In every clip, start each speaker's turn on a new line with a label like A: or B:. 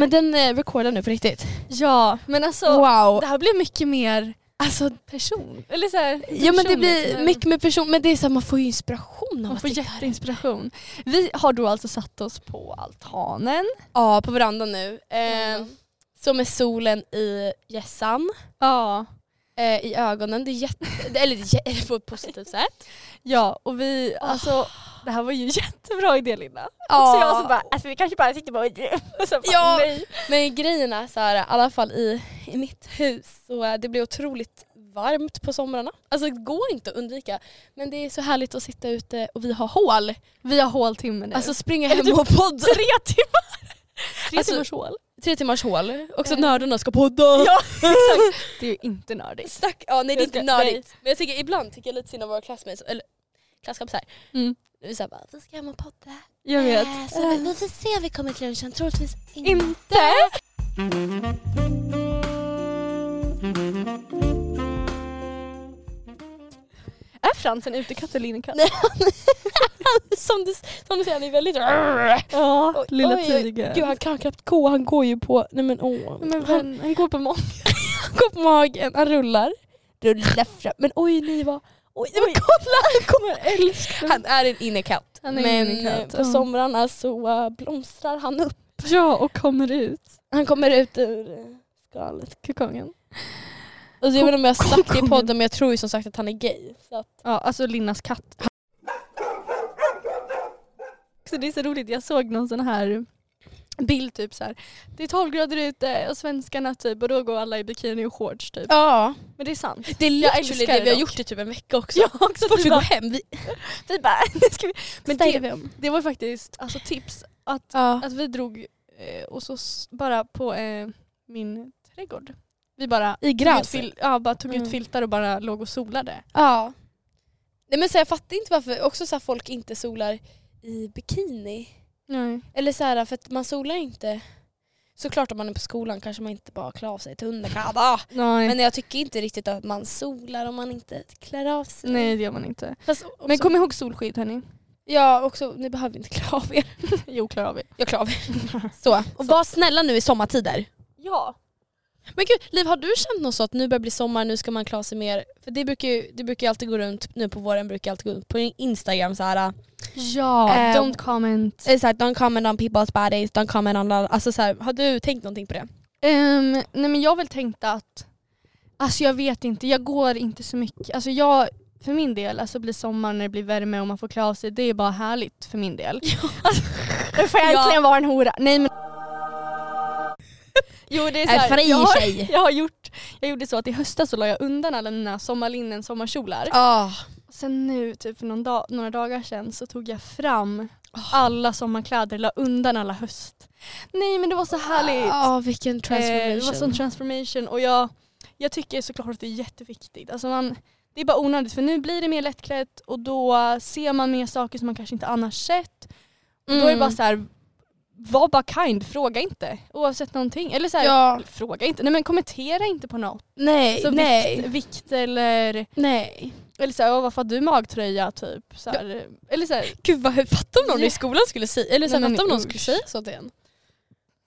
A: Men den eh, recordar nu på riktigt.
B: Ja, men alltså
A: wow.
B: det här blev mycket mer
A: Alltså,
B: person. Eller så här, inte
A: ja men det
B: personligt,
A: blir
B: men
A: mycket med person, men det är så här, man får ju inspiration av
B: Man
A: att
B: får
A: sitta här.
B: jätteinspiration. Vi har då alltså satt oss på altanen.
A: Ja, på verandan nu. Eh,
B: Mm.
A: så med solen i gässan,
B: Ja.
A: eh, i ögonen. Det är jätte, eller det är jä- på ett positivt sätt. Ah.
B: ja, och vi alltså det här var ju en jättebra idé Linda.
A: Ja.
B: Så jag så bara, alltså vi kanske bara sitter på och så bara,
A: Ah. Ja.
B: nej.
A: Men grejen är så här, i alla fall i, i mitt hus, så eh, det blir otroligt varmt på somrarna. Alltså det går inte att undvika. Men det är så härligt att sitta ute och vi har hål.
B: Vi har håltimme nu.
A: Alltså springa
B: Eller
A: hem
B: typ
A: och podda.
B: tre timmar! Tre
A: Alltså,
B: timmars hål.
A: Tre timmars hål. Och så
B: Eh.
A: nördarna ska podda.
B: Ja, exakt. Det är ju inte nördigt.
A: Stack, ja, nej det är
B: Jag
A: inte
B: ska-
A: nördigt. Men jag tycker, ibland tycker jag lite synd om våra classmates, eller klasskompisar.
B: Mm.
A: Vi säger bara, vi ska hem och podda.
B: Jag vet. Äh,
A: Eh, Så vi, vi får se om vi kommer till lunchen, troligtvis inte.
B: Inte? Är Fransen ute katolinika?
A: Nej, som, du, som du säger, han är väldigt...
B: Ja,
A: Oj, oj, oj. Gud han kan knappt gå, han går ju på... Nej men åh.
B: Men
A: han
B: han, han går på många.
A: går på magen, han rullar. Rullar fram. Men oj ni vad... Oj, nej, men kolla! Han, kommer, han är en innekatt.
B: Han är en
A: men
B: innekatt,
A: eh, på
B: ja.
A: somrarna så eh, blomstrar han upp.
B: Ja, och kommer ut.
A: Han kommer ut ur eh, skalet.
B: Kukongen.
A: Alltså, jag vet inte om jag har sagt det i
B: Kokong.
A: podden men jag tror ju som sagt att han är gay. Så att,
B: Ja, alltså Linnas katt. Så det är så roligt, jag såg någon sån här bild typ så här. Det är 12 grader ute och svenskarna typ och då går alla i bikini och shorts typ.
A: ja.
B: Men det är sant.
A: Det är
B: Jag
A: literally
B: älskar
A: det
B: det
A: vi har
B: dock.
A: gjort i typ en vecka också.
B: Ja, också
A: så fort vi
B: vi
A: går
B: bara,
A: hem. Vi,
B: vi bara, nu ska vi.
A: men
B: Men
A: det,
B: det,
A: vi om.
B: det var faktiskt alltså, tips att,
A: Ja.
B: att vi drog eh, och så s- bara på eh, min trädgård. Vi bara
A: I
B: tog, ut,
A: gräset.
B: fil- ja, bara tog
A: Mm.
B: ut filtar och bara låg och solade.
A: Ja. Nej, men så här, jag fattar inte varför också så här, folk inte solar i bikini.
B: Nej.
A: Eller så här, för att man solar inte. Såklart om man är på skolan kanske man inte bara klär av sig till underkläder.
B: Nej.
A: Men jag tycker inte riktigt att man solar om man inte klär av sig.
B: Nej det gör man inte.
A: Fast,
B: Men
A: också,
B: kom ihåg solskydd hörni.
A: ja, också, ni behöver inte klä av er.
B: Jo klarar vi.
A: Jag klarar av er. Så. Och var snälla nu i sommartider.
B: Ja.
A: Men gud, Liv har du känt något så att nu börjar bli sommar, nu ska man klara sig mer? För det brukar ju det brukar ju alltid gå runt, nu på våren brukar jag alltid gå runt på Instagram så här.
B: Ja,
A: Eh,
B: don't comment.
A: Eller så här, don't comment on people's bodies, don't comment on... Alltså så här, har du tänkt någonting på det?
B: Ehm, nej men jag har väl tänkt att, alltså jag vet inte, jag går inte så mycket. Alltså jag, för min del, alltså blir sommar när det blir värme och man får klä av sig, det är bara härligt för min del. Alltså, nu får jag
A: Ja.
B: äntligen vara en hora. Nej men. Jo det är
A: En
B: såhär,
A: fri
B: jag, har-
A: tjej.
B: jag har gjort, jag gjorde så att i höstas så la jag undan alla mina sommarlinnen, sommarkjolar.
A: Ja.
B: Och Sen nu, typ för någon dag, några dagar sedan, så tog jag fram alla sommarkläder, la undan alla höst. Nej men det var så härligt.
A: Ja, Ah, vilken
B: Eh, Det var sån
A: transformation.
B: transformation och jag, jag tycker såklart att det är jätteviktigt. Alltså man, det är bara onödigt för nu blir det mer lättklätt och då ser man mer saker som man kanske inte annars sett.
A: Mm.
B: Då är det bara så här, var bara kind, fråga inte oavsett någonting. Eller så här,
A: Ja.
B: fråga inte, nej men kommentera inte på något.
A: Nej,
B: Så
A: nej,
B: Vikt, vikt eller,
A: nej.
B: eller så här, "Åh, varför har du magtröja typ. Så här, Eller så här,
A: Gud vad fatta om någon i skolan skulle säga, eller så här,
B: Nej, men
A: fatta om någon
B: usch.
A: skulle säga så till en.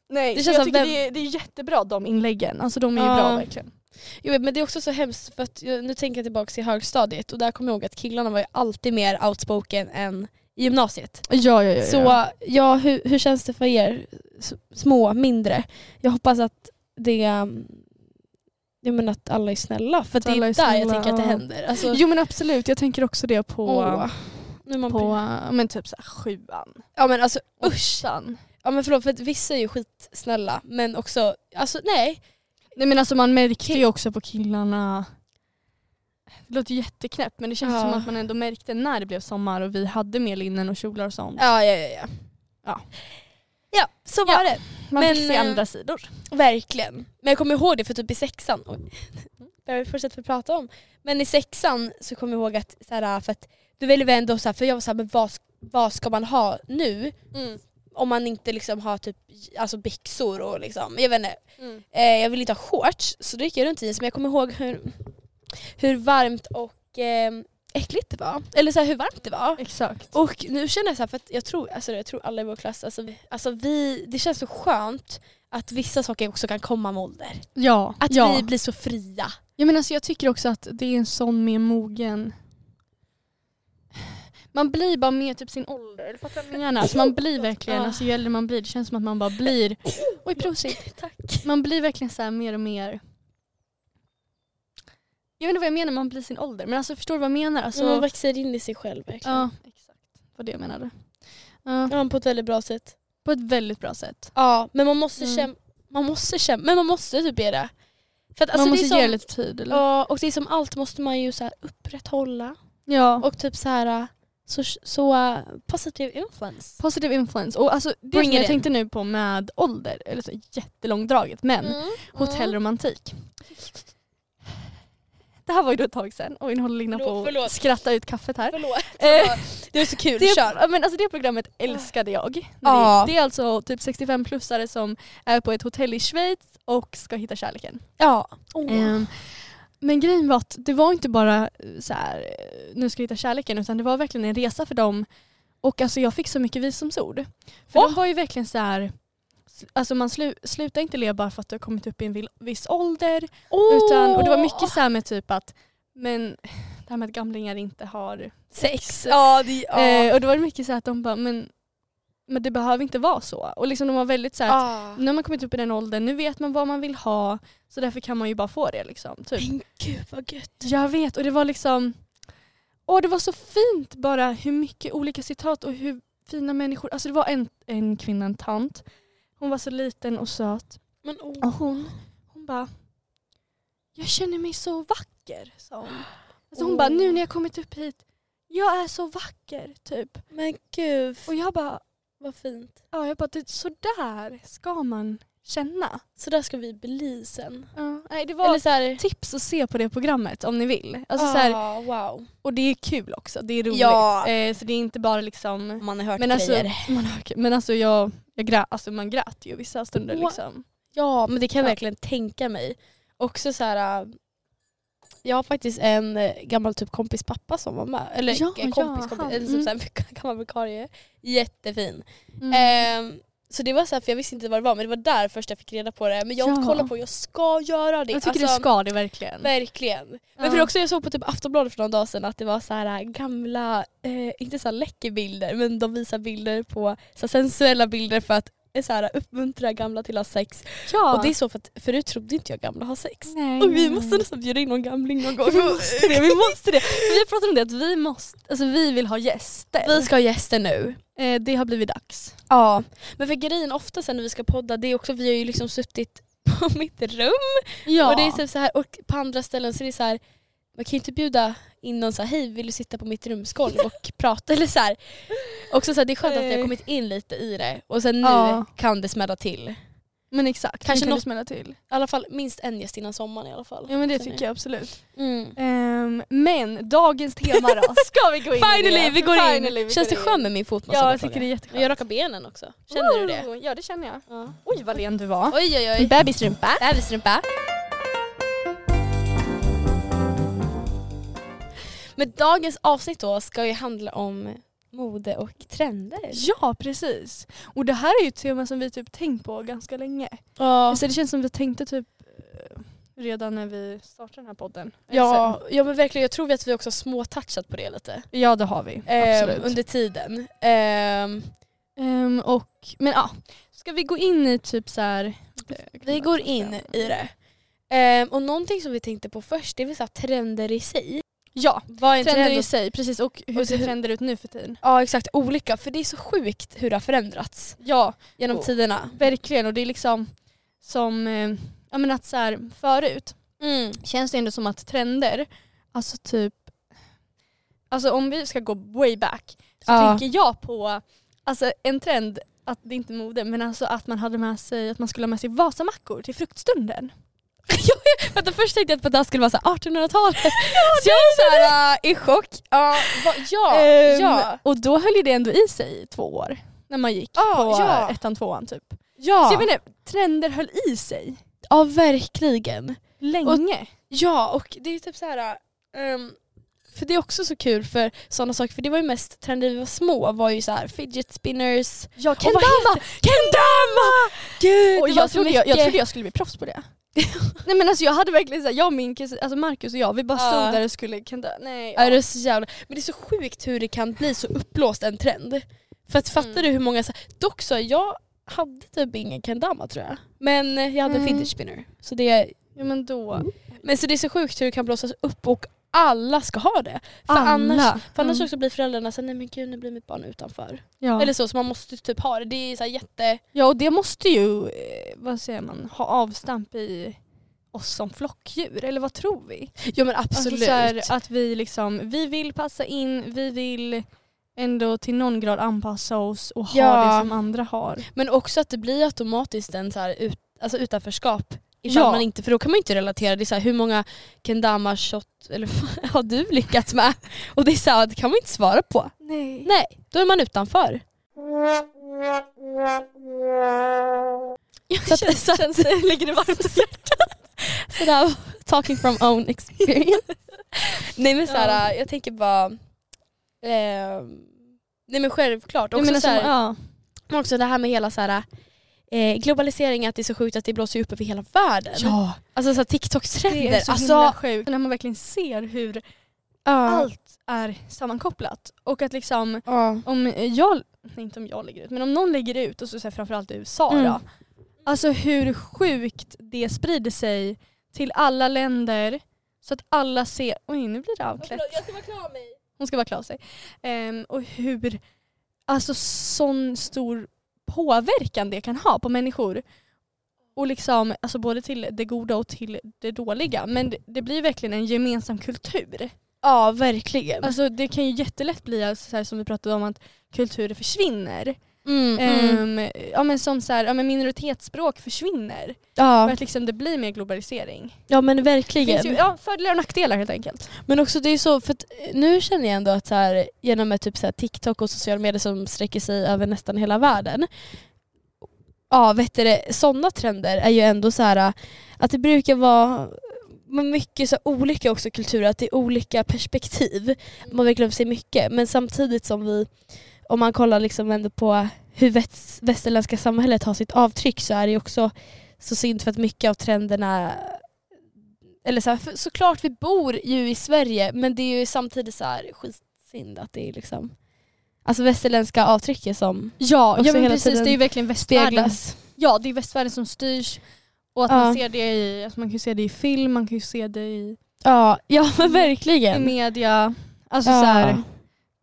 B: nej,
A: Det
B: det
A: känns som
B: jag tycker
A: vem-
B: det, är, det är jättebra de inläggen, alltså de är ju
A: Ja.
B: bra verkligen.
A: Jag vet, men det är också så hemskt för att jag, nu tänker jag tillbaka till högstadiet och där kommer jag ihåg att killarna var ju alltid mer outspoken än i gymnasiet.
B: Ja, ja, ja.
A: Så ja, hur, hur känns det för er S- små, mindre? Jag hoppas att det um, jag menar att alla är snälla för att det är,
B: Alla är
A: där jag
B: snälla,
A: tänker att det
B: ja.
A: händer. Alltså,
B: Jo men absolut, jag tänker också det på,
A: åh, nu är man
B: på
A: på.
B: eh, men typ så här, sjuan,
A: Ja men alltså usch.
B: åttan.
A: Ja men förlåt för att vissa är ju skitsnälla men också, alltså nej.
B: Nej men alltså man märkte ju också på killarna, det låter jätteknäppt men det känns
A: Ja.
B: som att man ändå märkte när det blev sommar och vi hade mer linnen och kjolar och sånt.
A: Ja ja ja. Ja,
B: Ja.
A: ja så var
B: Mm. Ja.
A: det.
B: Man
A: men,
B: fick se
A: eh,
B: andra sidor.
A: Verkligen. Men jag kommer ihåg det för typ i sexan, oj, det har vi fortsatt att prata om. Men i sexan så kommer jag ihåg att, så här, för att då ville vi ändå så här, för jag var såhär, men vad, sk- vad ska man ha nu?
B: mm,
A: Om man inte liksom har typ alltså byxor och liksom, jag vet inte.
B: mm.
A: Eh, jag vill inte ha shorts, så då gick jag runt i jeans. Men jag kommer ihåg hur, hur varmt och eh, äckligt det var. Eller så här, hur varmt det var.
B: Exakt.
A: Och nu känner jag så här, för att jag tror, alltså jag tror alla i vår klass, alltså, vi- alltså vi, det känns så skönt att vissa saker också kan komma med ålder.
B: Ja.
A: Att
B: ja.
A: vi blir så fria.
B: Ja, men alltså, jag tycker också att det är en sån mer mogen... Man blir bara mer typ sin ålder. Fattar du vad jag menar? Alltså, man blir verkligen,
A: Ja.
B: alltså, ju äldre man blir, det känns som att man bara blir... Oj, prosit.
A: Tack.
B: Man blir verkligen så här mer och mer... Jag vet inte vad jag menar, man blir sin ålder. Men alltså förstår du vad jag menar? Alltså,
A: Så man växer in i sig själv verkligen.
B: ja, exakt. Vad det jag menade. Ja,
A: Ja, på ett väldigt bra sätt.
B: på ett väldigt bra sätt.
A: Ja, men man måste
B: Mm.
A: kämpa. Man måste kämpa, men man måste typ göra det. För att, alltså,
B: man måste
A: det är som,
B: ge det lite tid. Eller?
A: Ja, och det är som allt måste man ju så här upprätthålla.
B: Ja.
A: Och typ så här, så, så eh, positive influence.
B: Positive influence. Och alltså, det
A: Bring
B: som
A: it
B: jag
A: in.
B: tänkte nu på med ålder, eller så jättelångdraget, men
A: Mm.
B: hotellromantik. Det här var ju då ett tag sedan. Oj nu håller Lina på
A: Förlåt,
B: att
A: förlåt.
B: skratta ut kaffet här.
A: Förlåt.
B: Eh,
A: Det är så kul,
B: det,
A: kör.
B: ja, men alltså det programmet älskade jag.
A: Ja.
B: Det, det är alltså typ 65-plussare som är på ett hotell i Schweiz och ska hitta kärleken.
A: Ja. Åh.
B: Ehm, men grejen var att det var inte bara eh, så här, eh, nu ska jag hitta kärleken utan det var verkligen en resa för dem. Och alltså jag fick så mycket visumsord. För
A: Åh!
B: de var ju verkligen så här, s- alltså man slu, slutar inte le bara för att du har kommit upp i en vil- viss ålder. Utan, och det var mycket så här med typ att, men det här med att gamlingar inte har...
A: sex. Ja, det,
B: Eh, och det var mycket så här att de bara, men, men det behöver inte vara så. Och Mm. liksom de var väldigt så här, att
A: Ah.
B: nu har man kommit upp i den åldern, nu vet man vad man vill ha. Så därför kan man ju bara få det liksom. Typ.
A: Men gud vad gött.
B: Jag vet och det var liksom och det var så fint bara hur mycket olika citat och hur fina människor, alltså det var en, en kvinna, en tant, hon var så liten och söt
A: Men, åh.
B: och hon, hon bara jag känner mig så vacker sa hon. Alltså hon
A: Åh.
B: bara nu när jag kommit upp hit, jag är så vacker typ.
A: Men gud
B: Och jag bara,
A: vad fint.
B: ja jag bara det, sådär ska man känna.
A: Så där ska vi bli sen.
B: Ja, nej, det var
A: Eller så här,
B: tips att se på det programmet om ni vill. Alltså, så här,
A: ah, wow.
B: och det är kul också, det är roligt.
A: Ja.
B: Eh, så det är inte bara liksom...
A: Man har hört
B: Men alltså, man hör, men alltså, jag, jag grä, alltså man grät ju vissa stunder
A: Åh.
B: liksom.
A: Ja, men det kan jag
B: Ja.
A: verkligen tänka mig. Också så här. äh, Jag har faktiskt en äh, gammal typ kompis pappa som var med. Eller
B: Ja,
A: kompis,
B: ja,
A: kompis,
B: han.
A: eller
B: Mm.
A: som så här, gammal vikarie. Jättefin.
B: Mm.
A: Ehm, så det var så här, för jag visste inte vad det var men det var där först jag fick reda på det. Men jag
B: Ja.
A: har kollar på, jag ska göra det.
B: jag tycker
A: Alltså,
B: du ska det verkligen.
A: Verkligen. Men
B: Ja.
A: för också jag såg på typ Aftonbladet för någon dag sedan att det var så här äh, gamla, eh, inte så här läckerbilder men de visar bilder på så här sensuella bilder för att eh, så här, uppmuntra gamla till att ha sex.
B: Ja.
A: Och det är så för att förut trodde inte jag gamla har sex.
B: Nej.
A: Och vi måste nästan bjuda in någon gamling någon gång.
B: Vi måste det, vi måste det. Vi har pratat om det att vi måste, alltså vi vill ha gäster.
A: Vi ska ha gäster nu.
B: Eh, det har blivit dags.
A: Ja. Men för grejen ofta sen när vi ska podda det är också, vi har ju liksom suttit på mitt rum
B: Ja.
A: och det är typ så här, och på andra ställen så är det så här man kan ju inte bjuda in någon så här, hej vill du sitta på mitt rumsgolv och prata eller så här. Också så här, det är skönt att vi har
B: Nej.
A: kommit in lite i det och sen nu
B: Ja.
A: kan det smälla till. I
B: men exakt,
A: Kanske
B: kanske kan
A: något-
B: det smälla till.
A: alla fall minst en gäst innan sommaren i alla fall.
B: Ja men det
A: känner
B: tycker jag absolut.
A: Mm.
B: Ehm, men dagens tema då, ska vi gå in i
A: Finally,
B: det?
A: vi går in!
B: Finally, vi
A: Känns
B: går
A: det
B: in.
A: skönt med min fotmassage?
B: Ja jag tycker det är
A: Men
B: jätteskönt.
A: jag rakar benen också. Känner du det?
B: Wow, Ja det känner jag.
A: Ja.
B: Oj vad len du var.
A: Oj oj oj.
B: Bebisrumpa.
A: Bebisrumpa. Men dagens avsnitt då ska ju handla om mode och trender.
B: Ja precis. Och det här är ju ett tema som vi typ tänkt på ganska länge.
A: Ja,
B: Så det känns som vi tänkte typ eh, redan när vi startade den här podden. Eller
A: ja, ja men verkligen. Jag tror att vi också har småtouchat på det lite.
B: sen. Ja det har vi.
A: Ehm,
B: Absolut.
A: under tiden. Ehm,
B: Ehm, och, men ja, ska vi gå in i typ så här.
A: vi går in i det. Ehm, och någonting som vi tänkte på först det är väl så här, trender i sig.
B: Ja,
A: Vad är en
B: trender
A: trend?
B: i
A: och-
B: sig precis och hur
A: och
B: ser
A: hur-
B: trender ut nu för tiden?
A: Ja exakt, olika. För det är så sjukt hur det har förändrats
B: Ja
A: genom
B: Och-
A: tiderna.
B: verkligen och det är liksom som, eh, ja men att så här förut
A: Mm.
B: känns det ändå som att trender, alltså typ, alltså om vi ska gå way back så
A: Ja.
B: tänker jag på alltså en trend, att det är inte mode, men alltså att man hade med sig, att man skulle ha med sig Vasamackor till fruktstunden.
A: Vänta, först tänkte jag att det här skulle vara så här 1800-talet. så jag var så här, äh, i chock. Ja, va, ja,
B: Ehm,
A: ja,
B: Och då höll ju det ändå i sig i två år. När man gick
A: Ja,
B: på
A: ja.
B: ettan, tvåan typ.
A: ja.
B: Så jag vet inte, trender höll i sig
A: ja, verkligen.
B: länge.
A: Ja, och det är typ så här... ehm, För det är också så kul för sådana saker, för det var ju mest trender vi var små var ju så här fidget spinners.
B: Ja,
A: Och vad
B: kendama! Kendama!
A: Gud,
B: Och
A: det var
B: jag,
A: så
B: trodde jag, jag
A: mycket.
B: trodde jag skulle bli proffs på det. nej men alltså jag hade verkligen såhär, jag och min kusin, alltså Marcus och jag, vi bara stod
A: Ja.
B: där och skulle kendama. Nej.
A: Ja, det är så jävla... Men det är så sjukt hur det kan bli så uppblåst en trend. För att fattar
B: Mm.
A: du hur många... så- Dock så, jag hade typ ingen kendama tror jag. Men jag hade
B: Mm.
A: fidget spinner. Så det,
B: Ja men då.
A: men så det är så sjukt hur det kan blåsas upp och alla ska ha det. För annars, för annars
B: Mm.
A: också blir föräldrarna såhär, nej men gud nu blir mitt barn utanför.
B: Ja.
A: Eller så, så man måste typ ha det. Det är så här jätte...
B: ja och det måste ju, eh, vad säger man, ha avstamp i oss som flockdjur, eller vad tror vi?
A: Jo men
B: Alltså
A: absolut.
B: så här, att vi, liksom, vi vill passa in, vi vill ändå till någon grad anpassa oss och ha
A: Ja.
B: det som andra har.
A: Men också att det blir automatiskt en så här ut, alltså utanförskap. Ifall
B: Ja.
A: man inte, för då kan man ju inte relatera. Det är så här, hur många kendama shot eller vad har du lyckats med? Och det är så här, det kan man inte svara på.
B: Nej.
A: Nej, då är man utanför. Så att, så att, känns, ligger det varmt om hjärtat? där, talking from own experience. Nej men så här, äh, jag tänker bara... ehm, nej men självklart. Också
B: Jag menar,
A: så här,
B: som, ja.
A: Men också det här med hela så här, eh, globalisering, att det är så sjukt att det blåser ju upp över hela världen.
B: ja,
A: Alltså så här,
B: det
A: TikTok-trender.
B: är så
A: alltså,
B: himla sjukt. När man verkligen ser hur
A: allt.
B: allt är sammankopplat. Och att liksom,
A: Ja.
B: om jag, nej inte om jag lägger ut, men om någon lägger ut och så, så här, framförallt i USA
A: Mm.
B: då. Alltså hur sjukt det sprider sig till alla länder så att alla ser, oj nu blir det avklätt.
A: jag ska vara klar med mig.
B: Hon ska vara klar sig. Ehm, och hur alltså sån stor påverkan det kan ha på människor. Och liksom, alltså både till det goda och till det dåliga. Men det, det blir verkligen en gemensam kultur.
A: Mm. Ja, verkligen.
B: Alltså det kan ju jättelätt bli alltså, så här, som vi pratade om att kulturer försvinner.
A: Mm, mm.
B: Ehm, ja, men som så här, ja, men minoritetsspråk försvinner. För
A: Ja.
B: att liksom, det blir mer globalisering.
A: ja, men
B: Det finns ju
A: verkligen.
B: ja, fördelar och nackdelar helt enkelt.
A: Men också det är så, för att eh, nu känner jag ändå att så här, genom ett typ så här, TikTok och sociala medier som sträcker sig över nästan hela världen. Ja, vet du det, sådana trender är ju ändå så här äh, att det brukar vara men mycket så här olika också kulturer, att det är olika perspektiv.
B: Mm.
A: Man verkligen ser mycket. Men samtidigt som vi, om man kollar liksom ändå på hur väst, västerländska samhället har sitt avtryck så är det ju också så synd för att mycket av trenderna eller så här, för såklart vi bor ju i Sverige men det är ju samtidigt så här skitsynd att det är liksom Alltså västerländska avtrycket som
B: Ja,
A: Också
B: ja men
A: hela
B: precis.
A: tiden
B: Det är ju verkligen västvärlden
A: speglas.
B: Ja, det är västvärlden som styrs. Och att
A: Ja.
B: man ser det i, alltså man kan ju se det i film, man kan ju se det i,
A: Ja, ja men
B: Mm. i
A: verkligen.
B: media. Alltså
A: ja.
B: så här,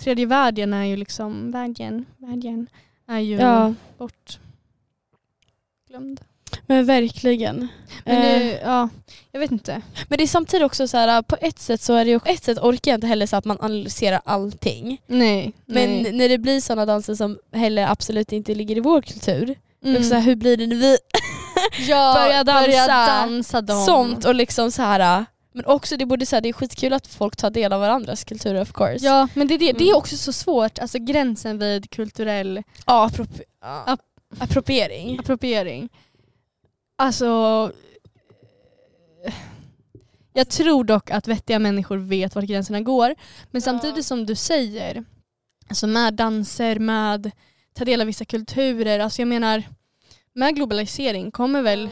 B: tredje världen är ju liksom, världen, världen är ju
A: ja,
B: bortglömd.
A: men verkligen.
B: Men
A: Eh.
B: nu, ja, jag vet inte.
A: Men det är samtidigt också så här, eh, på ett sätt så är det ju, ett sätt orkar jag inte heller så att man analyserar allting.
B: Nej.
A: Men
B: nej.
A: när det blir sådana danser som heller absolut inte ligger i vår kultur,
B: Mm.
A: också så här, hur blir det när vi
B: ja,
A: börja dansa.
B: dansa dem.
A: sånt och liksom så här. äh, Men också det borde säga det är skitkul att folk tar del av varandras kulturer of course.
B: Ja, men det, är det, det är
A: Mm.
B: också så svårt, alltså gränsen vid kulturell
A: Ja, appropi- ja.
B: App-
A: appropriering.
B: appropriering. Alltså... eh, Jag tror dock att vettiga människor vet vart gränserna går.
A: Ja.
B: Men samtidigt som du säger, alltså med danser, med ta del av vissa kulturer, alltså jag menar med globalisering kommer väl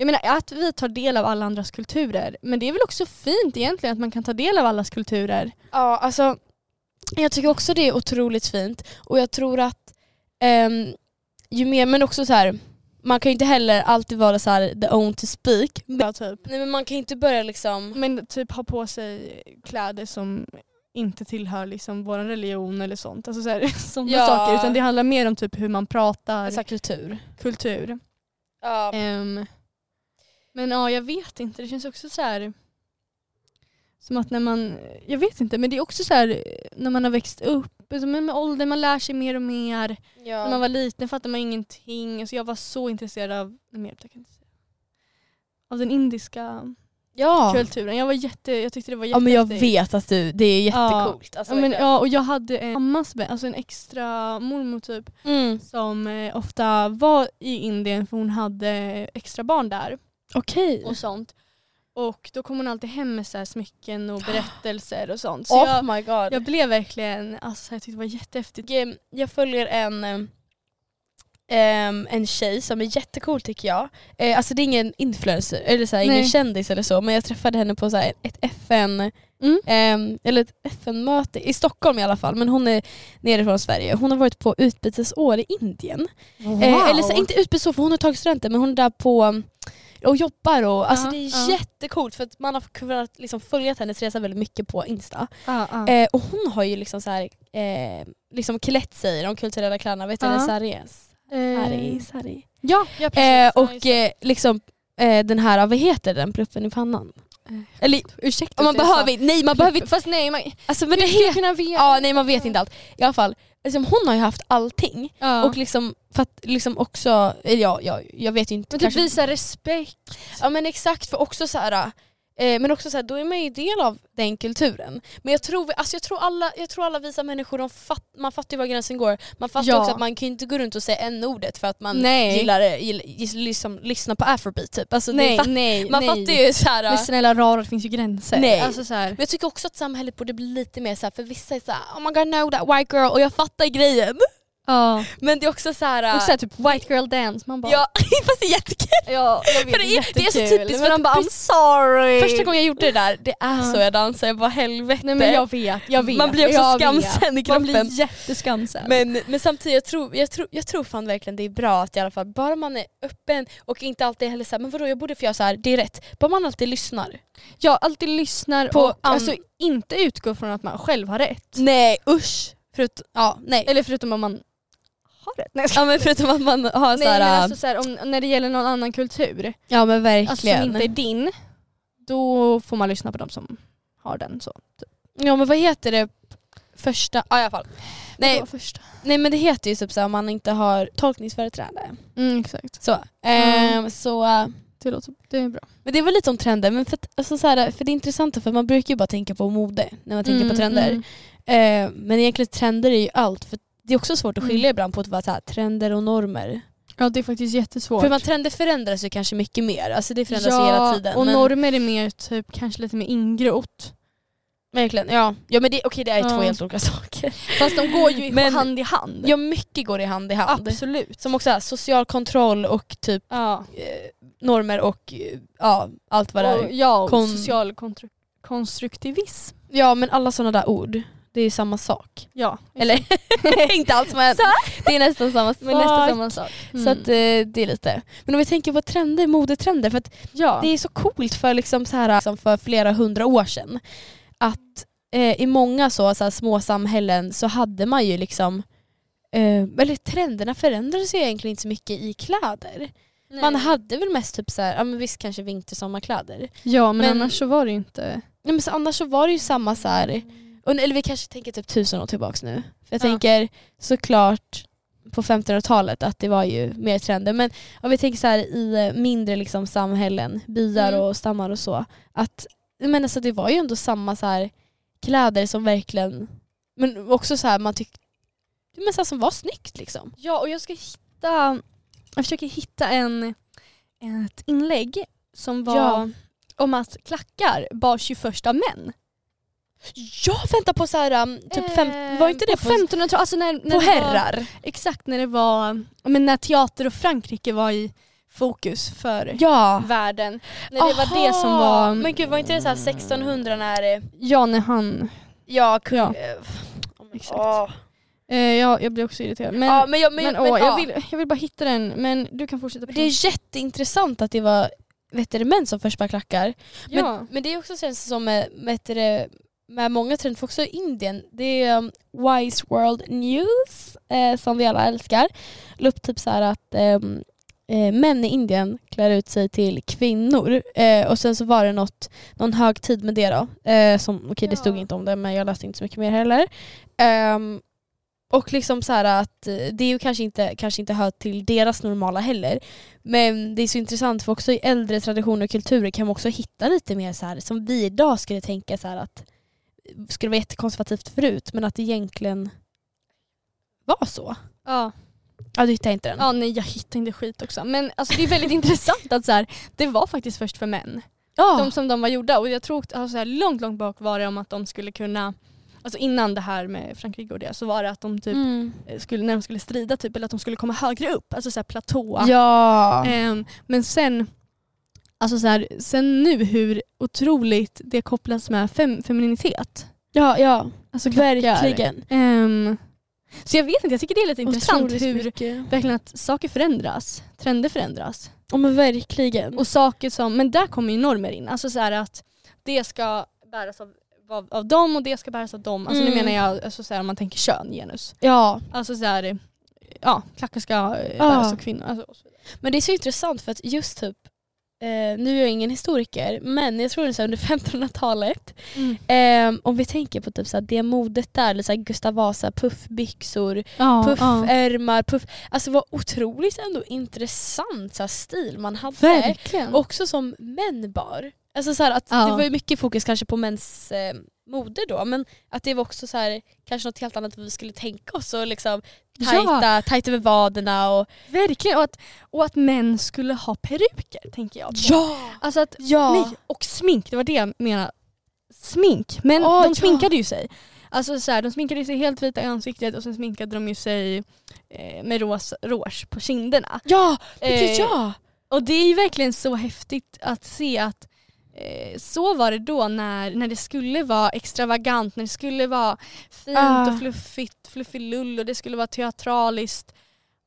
B: jag menar att vi tar del av alla andras kulturer, men det är väl också fint egentligen att man kan ta del av allas kulturer.
A: Ja, alltså jag tycker också det är otroligt fint och jag tror att ehm, ju mer, men också så här man kan ju inte heller alltid vara så här the own to speak.
B: Ja, typ.
A: Nej men man kan inte börja liksom,
B: Men typ ha på sig kläder som inte tillhör liksom vår religion eller sånt. Alltså så här, sådana
A: Ja.
B: saker. Utan det handlar mer om typ hur man pratar,
A: så här kultur.
B: kultur.
A: Ja.
B: Ehm, men ja, jag vet inte. Det känns också så här som att när man, jag vet inte, men det är också så här eh, när man har växt upp, alltså med, med åldern, man lär sig mer och mer. När man var liten fattade man ingenting. Alltså jag var så intresserad av, nej, men jag kan inte säga. Av den indiska
A: ja.
B: kulturen. Jag, var jätte, jag tyckte det var
A: ja men jag
B: jättehäftigt.
A: vet att du, det är jättecoolt. Alltså,
B: Ja, men,
A: verkligen.
B: ja, och jag hade en mammas vän, alltså en extra mormor typ,
A: mm.
B: som eh, ofta var i Indien för hon hade extra barn där
A: Okej.
B: och sånt. Och då kom hon alltid hem med så här smycken och berättelser och sånt. Så
A: oh
B: jag,
A: my god.
B: jag blev verkligen, alltså så här, jag tyckte det var jättehäftigt.
A: jag, jag följer en, eh, ehm, en tjej som är jättecool tycker jag. Eh, alltså det är ingen influencer, eller så här, ingen
B: Nej.
A: kändis eller så, men jag träffade henne på så här, ett FN
B: Mm.
A: ehm, eller ett FN-möte i Stockholm i alla fall, men hon är nerifrån Sverige. Hon har varit på utbytesår i Indien. Eh, eller så, inte utbytesår för hon har tagit studenten, men hon är där på och jobbar och alltså
B: Ja,
A: det är
B: ja.
A: jättecoolt för att man har kunnat liksom följa hennes resa väldigt mycket på Insta.
B: Ja, ja.
A: Eh, och hon har ju liksom så här, eh, liksom klätt sig i de kulturella kläderna, vet du?
B: Ja.
A: Eller saris.
B: Eh,
A: Sari, sari.
B: ja, ja, precis.
A: Eh,
B: Ja,
A: och
B: just det.
A: eh, liksom eh, den här, vad heter den, pluppen i pannan?
B: Eh,
A: Eller
B: ursäkta
A: om man
B: att jag
A: behöver
B: sa-
A: inte, nej man behöver inte,
B: Fast nej, man,
A: alltså, men det
B: hur ska jag
A: heter,
B: kunna veta?
A: ja, nej man vet inte allt. I alla fall, liksom, hon har ju haft allting.
B: Ja.
A: Och liksom, för att liksom också, eller ja, ja, jag vet ju inte.
B: men typ
A: kanske-
B: visa respekt.
A: Ja men exakt, för också så här, eh, men också så här, då är man ju del av den kulturen. Men jag tror, vi- alltså jag tror, alla, jag tror alla visa människor, de fatt, man fattar ju var gränsen går. Man fattar
B: Ja.
A: också att man kan ju inte gå runt och säga n-ordet för att man
B: Nej.
A: gillar det, gill, gill, liksom, lyssnar på afrobeat typ. Alltså, det
B: Nej,
A: är fatt,
B: nej,
A: man
B: nej.
A: fattar ju så här.
B: Men snälla rara, det finns ju gränser.
A: Nej.
B: Alltså, så här.
A: Men jag tycker också att samhället borde bli lite mer så här, för vissa är så här, oh my god no that white girl och jag fattar grejen.
B: Ja.
A: Men det är också så här.
B: Och så här, typ white girl dance, man bara
A: ja, fast det är jättekul.
B: Ja, jag vet,
A: För det är, det är så
B: jättekul.
A: typiskt.
B: Men
A: för
B: de bara
A: precis- Ah.
B: I'm sorry.
A: Första gången jag gjorde det där, det är
B: Ja.
A: så jag dansar, jag bara helvete.
B: Nej men jag vet, jag vet.
A: Man blir också
B: jag vet.
A: skamsen i
B: Man
A: kroppen.
B: blir jätteskamsen.
A: Men, men samtidigt, jag tror, jag, tror, jag tror fan verkligen det är bra att i alla fall, bara man är öppen och inte alltid heller såhär, men vadå jag borde få göra såhär, det är rätt. Bara man alltid lyssnar.
B: jag alltid lyssnar
A: På
B: och
A: an-
B: alltså, inte utgår från att man själv har rätt.
A: Nej usch! Förut, ja, nej.
B: Eller förutom om man har rätt. Nej, jag skojar.
A: Ja men förutom att man har äh,
B: Nej, men
A: såhär,
B: alltså, så här, om, när det gäller någon annan kultur,
A: ja men verkligen.
B: alltså, som inte är din, då får man lyssna på de som har den. Så.
A: Ja men vad heter det första, ja, i alla fall. Nej,
B: Vadå första.
A: nej men det heter ju typ såhär om man inte har tolkningsföreträde.
B: Mm, exakt.
A: Så.
B: Mm.
A: Ehm, så eh,
B: Det, låter, det är bra.
A: men det var lite om trender, men för, att, alltså, så här, för det är intressant för man brukar ju bara tänka på mode när man tänker
B: Mm,
A: på trender.
B: mm.
A: Eh, men egentligen trender är ju allt. För det är också svårt att
B: Mm.
A: skilja ibland på att vara så här, trender och normer.
B: Ja det är faktiskt jättesvårt.
A: För man, trender förändras ju kanske mycket mer. Alltså det förändras ju
B: ja,
A: hela tiden.
B: och
A: men,
B: normer är mer typ kanske lite mer ingrott.
A: verkligen, ja. ja men det, okej det är
B: Ja.
A: två helt olika saker.
B: Fast de går ju
A: Men-
B: hand i hand.
A: Ja mycket går i hand i hand.
B: Absolut.
A: Som också är social kontroll och typ
B: Ja.
A: eh, normer och eh, ja, allt vad det
B: Och,
A: är.
B: ja, och
A: Kon-
B: social kontru- konstruktivism.
A: Ja men alla sådana där ord, det är ju samma sak.
B: Ja.
A: Eller inte alls men
B: Så.
A: det är nästan samma sak.
B: Men nästan samma sak. Mm.
A: Så att, eh, det är lite. Men om vi tänker på trender, modetrender. För att
B: ja.
A: Det är så coolt för, liksom så här, liksom för flera hundra år sedan att eh, i många så, så här, små samhällen så hade man ju liksom eh, eller trenderna förändrades ju egentligen inte så mycket i kläder. Man hade väl mest typ så här, ja men visst kanske vintersommarkläder.
B: ja men,
A: men-
B: annars så var det ju inte...
A: Nej, men så annars så var det ju samma så här, och, eller vi kanske tänker typ tusen år tillbaks nu. För jag
B: Ja.
A: tänker såklart på 1500-talet att det var ju mer trender. Men om vi tänker så här i eh, mindre liksom samhällen, byar
B: Mm.
A: och stammar och så. Att, men alltså det var ju ändå samma så här kläder som verkligen, men också så här man tyckte, men så här som var snyggt liksom.
B: Ja och jag ska hitta, jag försöker hitta en, ett inlägg som var
A: Ja.
B: om att klackar bar 21 män.
A: Jag väntar på så här, um, typ fem,
B: Eh,
A: var inte det
B: på
A: på,
B: 1500-talet? Alltså när, när
A: på
B: det var-
A: herrar?
B: Exakt, när det var, men när teater och Frankrike var i fokus för
A: Ja.
B: världen. När det var det som var,
A: Ah. Men gud var inte det så här 1600 när det
B: ja när han,
A: Ja, kung...
B: Ja.
A: eh, oh my-
B: Exakt.
A: åh.
B: eh, ja, jag blir också irriterad. Men,
A: ja, Ah, men jag, men,
B: men,
A: men,
B: åh,
A: ja.
B: jag, vill, jag vill bara hitta den, men du kan fortsätta.
A: Men det är jätteintressant att det var vet du, det, män som först bara klackar.
B: ja.
A: Men, men det är också känns det som med, vet du, det, med många trender, för också i Indien. Det är um, Wise World News eh, som vi alla älskar. La upp typ så här att ehm, eh, män i Indien klär ut sig till kvinnor. Eh, och sen så var det något, någon högtid med det då. Eh, som, okej det
B: Ja.
A: stod inte om det men jag läste inte så mycket mer heller. Ehm, och liksom så här att eh, det är ju kanske inte, kanske inte hör till deras normala heller. Men det är så intressant för också i äldre traditioner och kulturer kan man också hitta lite mer så här som vi idag skulle tänka så här att eh, skulle vara jättekonservativt förut men att det egentligen var så.
B: ja.
A: Ja du hittar inte den.
B: ja, nej jag hittar inte skit också. Men alltså, det är väldigt intressant att så här, det var faktiskt först för män.
A: Ja. Mm.
B: de som de var gjorda. Och jag tror att alltså, så här, långt, långt bak var det om att de skulle kunna, alltså innan det här med Frankrike och det, så var det att de typ,
A: mm.
B: eh, skulle, när de skulle strida typ, eller att de skulle komma högre upp, alltså så här, platå.
A: ja.
B: Ehm, men sen, alltså så här, sen nu hur otroligt det kopplas med fem, femininitet.
A: ja, ja.
B: Alltså krockar.
A: Verkligen.
B: Ehm, så jag vet inte, jag tycker det är lite intressant
A: Otroligt
B: hur
A: mycket.
B: verkligen att saker förändras, trender förändras.
A: Ja men verkligen.
B: Mm. Och saker som, men där kommer ju normer in. Alltså så här att det ska bäras av, av, av dem och det ska bäras av dem. Alltså nu
A: Mm.
B: menar jag alltså så här, om man tänker kön, genus.
A: Ja.
B: Alltså så här, ja, klackar ska eh,
A: Ja.
B: bäras av kvinnor. Alltså, och så vidare.
A: Men det är så intressant för att just typ, eh, nu är jag ingen historiker, men jag tror det är så här under 1500-talet, eh, om vi tänker på typ så här, det modet där, eller så här Gustav Vasa, puffbyxor,
B: Ja, ja.
A: puffärmar, puff... Alltså vad otroligt ändå intressant så här, stil man hade.
B: eh, Verkligen.
A: Också som män bar. Alltså så här, att
B: Ja.
A: Det var ju mycket fokus kanske på mäns eh, mode då, men att det var också så här, kanske något helt annat vi skulle tänka oss. Och liksom, tajta, tajta över vaderna och...
B: Verkligen, och att, och att män skulle ha peruker tänker jag. på.
A: Ja!
B: Alltså att,
A: Ja!
B: nej, och smink, det var det jag menade. Smink, men
A: Ah,
B: de
A: ja.
B: sminkade ju sig. Alltså så här, de sminkade sig helt vita i ansiktet och sen sminkade de ju sig eh, med ros, rouge på kinderna.
A: Ja!
B: Eh,
A: ja!
B: Och det är ju verkligen så häftigt att se att eh, så var det då när, när det skulle vara extravagant, när det skulle vara fint
A: Ah.
B: och fluffigt, fluffig lull och det skulle vara teatraliskt.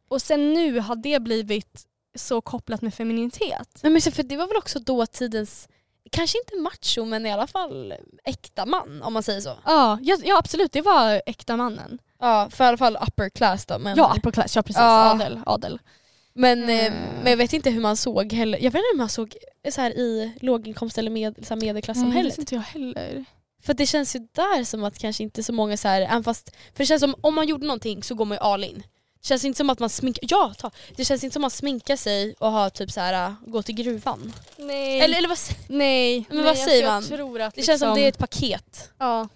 B: Och sen nu har det blivit så kopplat med femininitet.
A: Nej, men så för det var väl också dåtidens, kanske inte macho men i alla fall äkta man om man säger så.
B: Ja, ja, ja absolut, det var äkta mannen.
A: Ja, för i alla fall upper class då. Men,
B: Ja, upper class, ja Mm. precis.
A: Ja.
B: Adel. adel.
A: men, eh,
B: Mm.
A: men jag vet inte hur man såg heller. Jag vet inte hur man såg så här, i låginkomst eller med, så här, medelklassamhället.
B: Mm. inte jag heller.
A: För det känns ju där som att kanske inte så många så här, även fast, för det känns som om man gjorde någonting så går man ju all in. Det känns inte som att man sminkar, ja ta! Det känns inte som att man sminkar sig och har typ så här äh, gå till gruvan.
B: Nej.
A: Eller, eller vad säger
B: nej.
A: Men vad säger
B: jag
A: man?
B: Tror att
A: Det känns som
B: liksom-
A: det är ett paket.
B: Ja,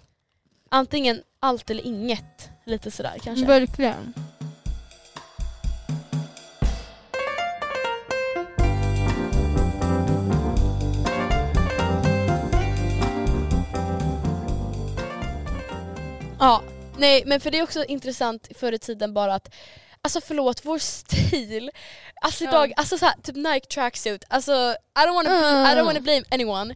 A: antingen allt eller inget. Lite sådär kanske.
B: verkligen.
A: ja. Nej men för det är också intressant förr i tiden bara att Alltså förlåt, vår stil. Alltså
B: Ja.
A: idag, alltså såhär, typ Nike tracksuit. Alltså I don't wanna, I don't wanna blame anyone.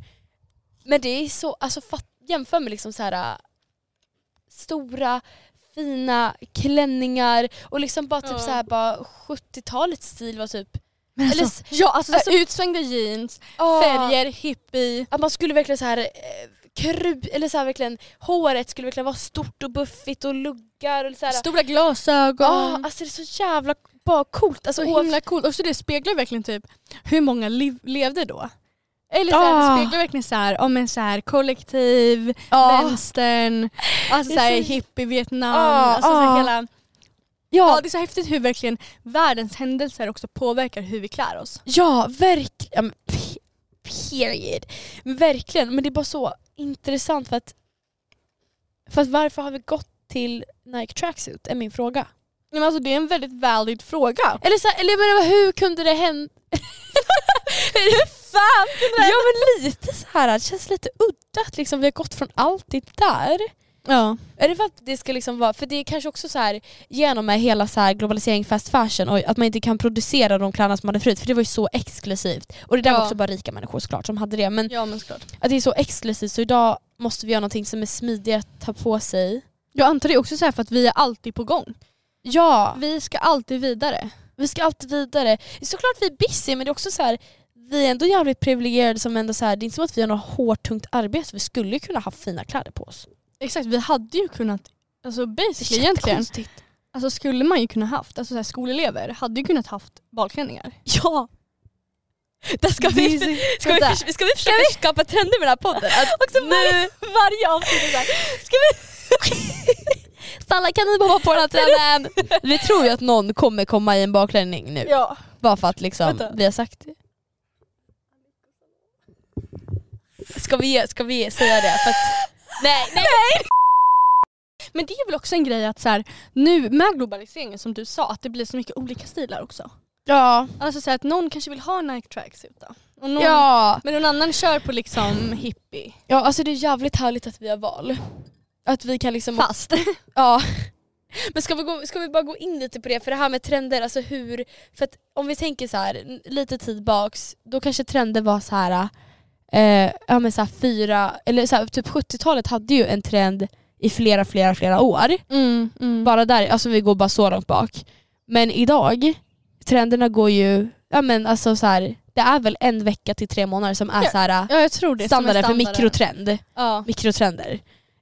A: Men det är så, alltså fatt, jämför med liksom så här äh, stora fina klänningar och liksom bara typ
B: Ja.
A: så här bara 70-talets stil var typ...
B: Men
A: Eller
B: alltså, ja, alltså,
A: alltså-
B: så här utsvängda jeans,
A: Ah.
B: färger, hippie.
A: Att man skulle verkligen så här eh, kru, eller så här verkligen, håret skulle verkligen vara stort och buffigt och luggar och så här.
B: Stora glasögon.
A: Ja, alltså det är så jävla bara coolt. Alltså,
B: så
A: oavs-
B: himla coolt. Och så det speglar verkligen typ hur många liv, levde då. Eller så här,
A: Ah.
B: det speglar verkligen så här, om en så här kollektiv,
A: Ja.
B: vänstern, alltså
A: Det
B: så
A: är
B: här,
A: så-
B: hippie, Vietnam.
A: Ah,
B: alltså så här,
A: ah.
B: hela, ja.
A: ja,
B: det är så häftigt hur verkligen världens händelser också påverkar hur vi klär oss.
A: ja verkligen. Period. Men Verkligen, men det är bara så intressant för att, för att varför har vi gått till Nike tracksuit är min fråga.
B: Ja, men alltså, det är en väldigt valid fråga.
A: Eller, så här, eller jag menar, hur kunde det hända?
B: Hur fan kunde
A: ja men lite så här, det känns lite udda att liksom, vi har gått från allt det där
B: Ja.
A: Är det för att det ska liksom vara, för det är kanske också så här genom med hela så här globalisering fast fashion och att man inte kan producera de kläderna som man hade förut för det var ju så exklusivt. Och det där
B: Ja.
A: var också bara rika människor såklart som hade det men
B: ja, men såklart.
A: att det är så exklusivt så idag måste vi göra någonting som är smidigare att ta på sig.
B: Jag antar det är också så här för att vi är alltid på gång.
A: Ja,
B: Vi ska alltid vidare.
A: vi ska alltid vidare. Såklart vi är busy men det är också så här vi är ändå jävligt privilegierade som ändå så här, det är inte som att vi har något hårt tungt arbete vi skulle ju kunna ha fina kläder på oss.
B: Exakt, vi hade ju kunnat,
A: Det
B: alltså basically
A: är
B: egentligen,
A: jättekonstigt.
B: alltså skulle man ju kunna haft, alltså så här, skolelever hade ju kunnat haft balklänningar.
A: Ja! Där ska vi
B: Det är så-
A: Ska vi,
B: Vänta.
A: förs- ska vi försöka skapa trender med den här podden? Att nu,
B: varje avsnitt är såhär,
A: Stalla kan ni hoppa på den här trenden? Vi tror ju att någon kommer komma i en baklänning nu.
B: ja.
A: Bara för att liksom,
B: Vänta.
A: vi har sagt det. Ska vi, ska vi säga det? För att, nej, nej!
B: Men det är väl också en grej att så här, nu med globaliseringen som du sa, att det blir så mycket olika stilar också.
A: Ja.
B: Alltså så här, att någon kanske vill ha Nike tracksuit då. Och någon,
C: Ja.
B: Men någon annan kör på liksom hippie.
A: Ja alltså det är jävligt härligt att vi har val. Att vi kan liksom...
C: Fast.
A: Ja. Men ska vi, gå, ska vi bara gå in lite på det? För det här med trender, alltså hur... För att om vi tänker så här, n- lite tid baks, då kanske trender var så här... Eh, ja men så här fyra, eller så här, typ 70-talet hade ju en trend i flera, flera, flera år.
B: Mm.
A: Bara där, alltså vi går bara så långt bak. Men idag, trenderna går ju, ja men alltså så här, det är väl en vecka till tre månader som är
B: Ja,
A: så här
B: Ja jag tror det. som är
A: standarden för
B: standarden.
A: mikrotrend
B: Ja.
A: mikrotrender.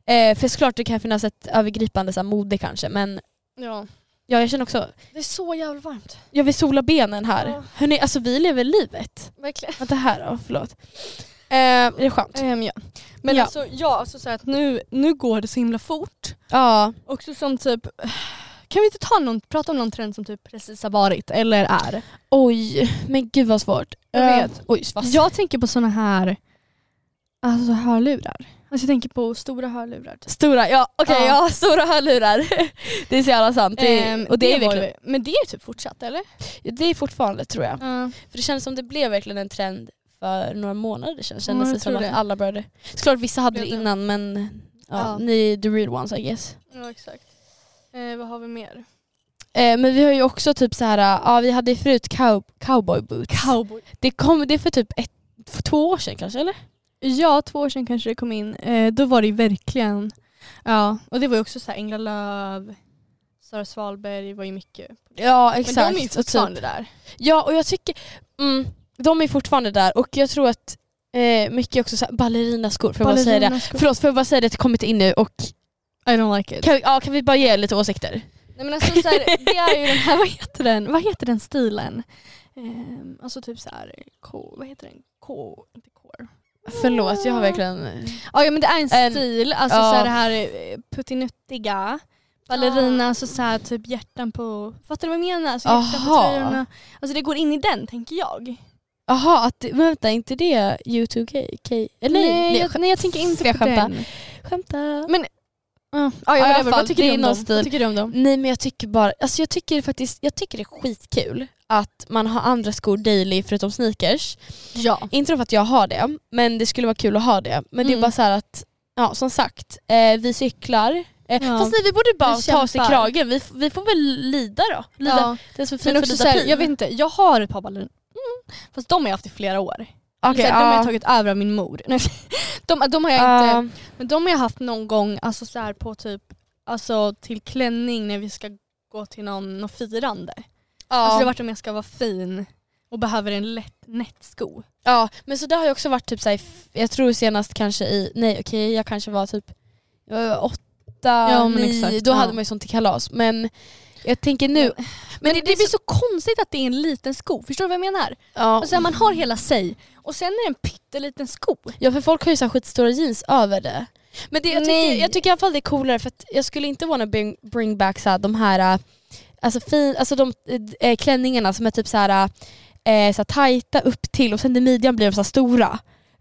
A: Eh, för såklart det kan finnas ett övergripande så här, mode kanske men
B: ja.
A: ja, jag känner också,
B: Det är så jävla varmt.
A: jag vill sola benen här.
B: Ja.
A: Hörni, alltså vi lever livet.
B: Verkligen.
A: Vänta här då, förlåt. Eh, det är skönt.
B: Ehm, ja. Men
A: Ja.
B: alltså ja, alltså så här att nu, nu går det så himla fort.
A: Ja,
B: Också som typ, kan vi inte ta någon, prata om någon trend som typ precis har varit eller är?
A: oj, men gud vad svårt.
B: Jag
A: Eh,
B: vet.
A: Oj, svass.
B: Jag tänker på såna här alltså hörlurar. Alltså jag tänker på stora hörlurar. Typ.
A: Stora, ja okej,
B: Ja.
A: ja. stora hörlurar. det är så jävla sant. Det,
B: Ehm,
A: och det, är
B: var
A: verkligen,
B: ju- men det är typ fortsatt eller?
A: det är fortfarande tror jag.
B: Ja.
A: För det känns som det blev verkligen en trend för några månader sedan. Kändes
B: jag
A: det som
B: tror
A: att
B: det.
A: alla började. Såklart vissa hade det
B: Blev det.
A: innan men ja,
B: Ja.
A: ni är the real ones I guess.
B: ja exakt. Eh, vad har vi mer?
A: Eh, men vi har ju också typ så här, äh, ja vi hade ju förut cow cowboy boots.
B: Cowboy.
A: det kom det är för typ ett, för två år sedan kanske eller?
B: Ja, två år sedan kanske det kom in. Eh, då var det ju verkligen, ja och det var ju också så här Engla Lööf, Sara Svalberg var ju mycket.
A: Ja
B: Men de är ju
A: och typ,
B: fortfarande där.
A: ja och jag tycker, mm, de är fortfarande där och jag tror att eh, mycket också så här, ballerinaskor, får jag bara säga det?
B: Ballerinaskor.
A: Förlåt, får jag bara säga det? Det har kommit in nu och
B: I don't like it.
A: kan, vi- ja, kan vi bara ge lite åsikter?
B: Nej, men alltså, så här, det är ju den här, vad heter den, vad heter den stilen? Ehm, alltså typ så här, K, vad heter den? K, inte core.
A: Förlåt, jag har verkligen...
B: Ja, ja men det är en
A: En-
B: stil, alltså
A: ja.
B: så här, det här eh, puttinuttiga. Ballerina, alltså så här, typ hjärtan på, fattar du vad jag menar? Alltså hjärtan på
A: Aha.
B: tröjorna. Alltså det går in i den tänker jag.
A: Jaha, att, men vänta, är inte det U2K? K, eller?
B: jag, nej jag tänker inte
A: jag
B: på
A: skämta?
B: den.
A: Skämta.
B: Ja, ja,
A: i alla
B: whatever.
A: fall,
B: vad tycker
A: det är
B: du om
A: någon
B: dem?
A: stil.
B: Vad tycker du om dem?
A: Nej men jag tycker bara, alltså jag tycker faktiskt, jag tycker det är skitkul att man har andra skor daily förutom sneakers.
B: Ja.
A: Inte för att jag har det, men det skulle vara kul att ha det. Men det
B: Mm.
A: är bara så här att, ja som sagt, eh, vi cyklar. Eh,
B: Ja.
A: Fast nej vi borde bara
B: Vi
A: ta oss i
B: kämpar.
A: kragen, vi, f- vi får väl lida då. Lida.
B: Ja.
A: Det är så fint
B: Men
A: att
B: också
A: lida
B: så här,
A: pin.
B: jag vet inte, jag har ett par balleriner. Mm. Fast de har jag haft i flera år.
A: Okej,
B: så här, de har
A: ja.
B: jag tagit över av min mor. Nej, de, de har jag inte,
A: Ja.
B: men de har jag haft någon gång alltså så här på typ, alltså till klänning när vi ska gå till någon, någon firande. Alltså det har varit om jag ska vara fin och behöver en lätt nättsko.
A: Ja, men så där har jag också varit typ såhär, jag tror senast kanske i, nej okej jag kanske var typ eh, åtta,
B: Ja, men
A: nio,
B: exakt,
A: då
B: ja.
A: hade man ju sånt till kalas. Men jag tänker nu, men,
B: Men det, det blir så konstigt att det är en liten sko, förstår du vad jag menar?
A: Alltså- ja.
B: Alltså, man har hela sig och sen är det en pytteliten sko.
A: ja för folk har ju så här skitstora jeans över det. Men det, jag,
B: Nej.
A: tycker, jag tycker i alla fall det är coolare för att jag skulle inte wanna bring, bring back så här, de här eh, alltså, fin, alltså de eh, klänningarna som är typ så här, eh, så här tajta upp till och sen i midjan blir de så här stora.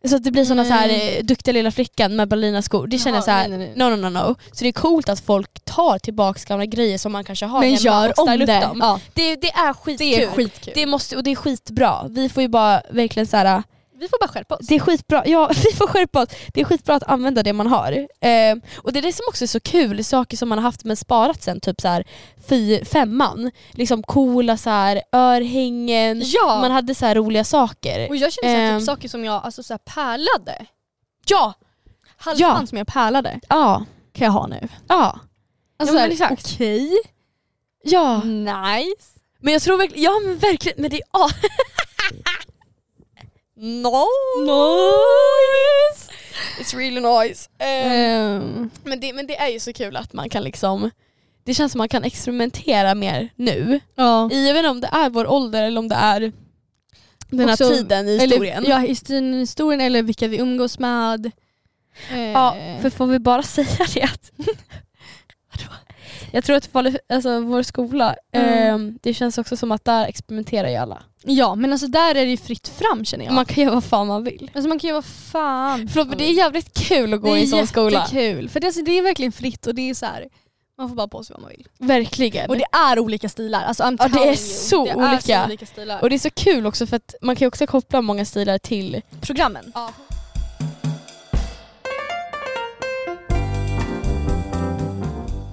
A: Så att det blir såna
B: Mm.
A: så här eh, duktiga lilla flickan med ballerinaskor. Det känner jag så här,
B: nej, nej, nej.
A: No, no, no, no. Så det är coolt att folk tar tillbaka gamla grejer som man kanske har
B: Men
A: hemma
B: gör
A: och
B: om
A: stylar upp
B: det.
A: dem.
B: Ja,
A: Det, det är skitkul.
B: det är skitkul.
A: Det måste, och det är skitbra. Vi får ju bara verkligen så här.
B: vi får bara skärpa oss.
A: det är skitbra, ja vi får skärpa oss. Det är skitbra att använda det man har. Eh, och det är det som också är så kul, saker som man har haft men sparat sen typ så här fy, femman. Liksom coola så här örhängen,
B: Ja.
A: man hade så här roliga saker.
B: Och jag känner så här,
A: Ehm.
B: typ saker som jag alltså, så här, pärlade.
A: Ja!
B: Halsband som jag pärlade
A: Ja.
B: kan jag ha nu.
A: Ja. men
B: Alltså, så här,
A: exakt.
B: Okej,
A: ja.
B: nice.
A: Men jag tror verkligen, ja men verkligen, men det är ja. No. Nice! Oh, It's really nice. Eh,
B: Ehm,
A: men, det, men det är ju så kul att man kan liksom, det känns som man kan experimentera mer nu.
B: ja.
A: I, jag vet inte om det är vår ålder eller om det är den här
B: Också-
A: tiden i historien.
B: Eller, ja, historien, historien eller vilka vi umgås med. Ehm,
A: Ja, för får vi bara säga det att jag tror att Falu- alltså, vår skola,
B: Mm.
A: eh, det känns också som att där experimenterar ju alla.
B: ja, men alltså där är det ju fritt fram känner jag.
A: Man kan göra vad fan man vill.
B: alltså, man kan ju vara fan.
A: Förlåt men det är jävligt kul att gå i en sån skola.
B: Det är jättekul. För det, alltså, det är verkligen fritt och det är så här, Man får bara på sig vad man vill.
A: Verkligen.
B: Och det är olika stilar. Alltså, I'm
A: Ja, det är
B: telling you.
A: så
B: det Är
A: olika.
B: så olika stilar.
A: Och det är så kul också för att man kan ju också koppla många stilar till
B: programmen.
A: Ja.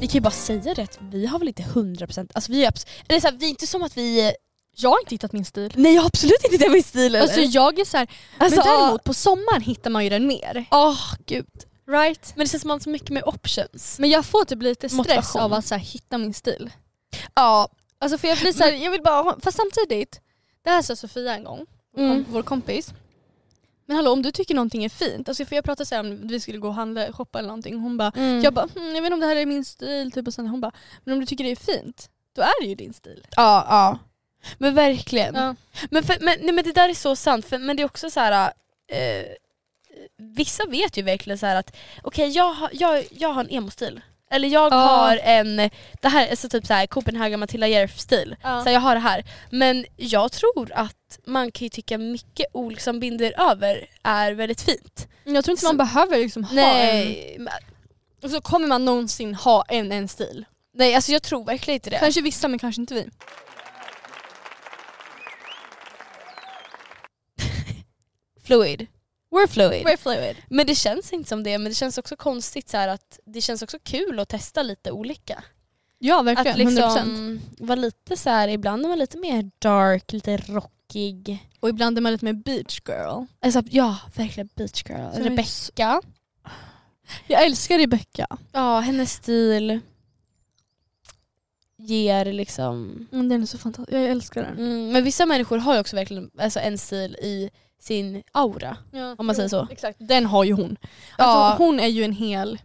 A: Vi kan ju bara säga det att vi har väl inte 100% alltså vi är, abs- eller så här, vi är inte som att vi
B: Jag har inte hittat min stil.
A: Nej jag har absolut inte den min stil
B: Alltså jag är så här,
A: Alltså,
B: men däremot på sommaren hittar man ju den mer.
A: Åh gud.
B: Right?
A: Men det känns som att man har så mycket mer options.
B: Men jag får typ lite stress
A: Motivation.
B: av att så här, hitta min stil.
A: Ja.
B: Alltså för jag blir så här, jag vill bara ha, fast samtidigt, det här sa Sofia en gång,
A: Mm.
B: kom, vår kompis. Men hallå om du tycker någonting är fint, alltså för jag pratade så här om vi skulle gå och handla, shoppa eller någonting, hon bara,
A: Mm.
B: jag bara, hm, jag vet inte om det här är min stil, typ och sen hon bara, men om du tycker det är fint, då är det ju din stil.
A: ja, ja. Men verkligen.
B: Ja.
A: Men, för, men, nej, men det där är så sant, för, men det är också så här. Eh, vissa vet ju verkligen så här att okej jag, har- jag, jag har en emo-stil. Eller jag
B: Ja.
A: har en, det här är så typ så här, Copenhagen Matilda Järf-stil. Så här, jag har det här. Men jag tror att man kan ju tycka mycket ord som binder över är väldigt fint.
B: Mm, Jag tror inte
A: Så-
B: man behöver liksom ha en,
A: men-
B: och så kommer man någonsin ha en, en stil.
A: nej alltså jag tror verkligen inte det.
B: Kanske vissa men kanske inte vi.
A: Fluid. We're fluid.
B: We're fluid.
A: Men det känns inte som det, men det känns också konstigt så här att det känns också kul att testa lite olika.
B: Ja
A: Att
B: verkligen, 100%.
A: liksom vara lite så här, ibland är man lite mer dark, lite rockig.
B: Och ibland är man lite mer beach girl.
A: Alltså, ja, verkligen beach girl.
B: Som är
A: Rebecca.
B: Jag älskar Rebecca.
A: Ja, hennes stil ger liksom...
B: Mm, den är så fantastisk, jag älskar den.
A: Mm, men vissa människor har ju också verkligen alltså, en stil i sin aura. Om man säger så.
B: Exakt, den har ju hon.
A: Ja.
B: Alltså, hon är ju en hel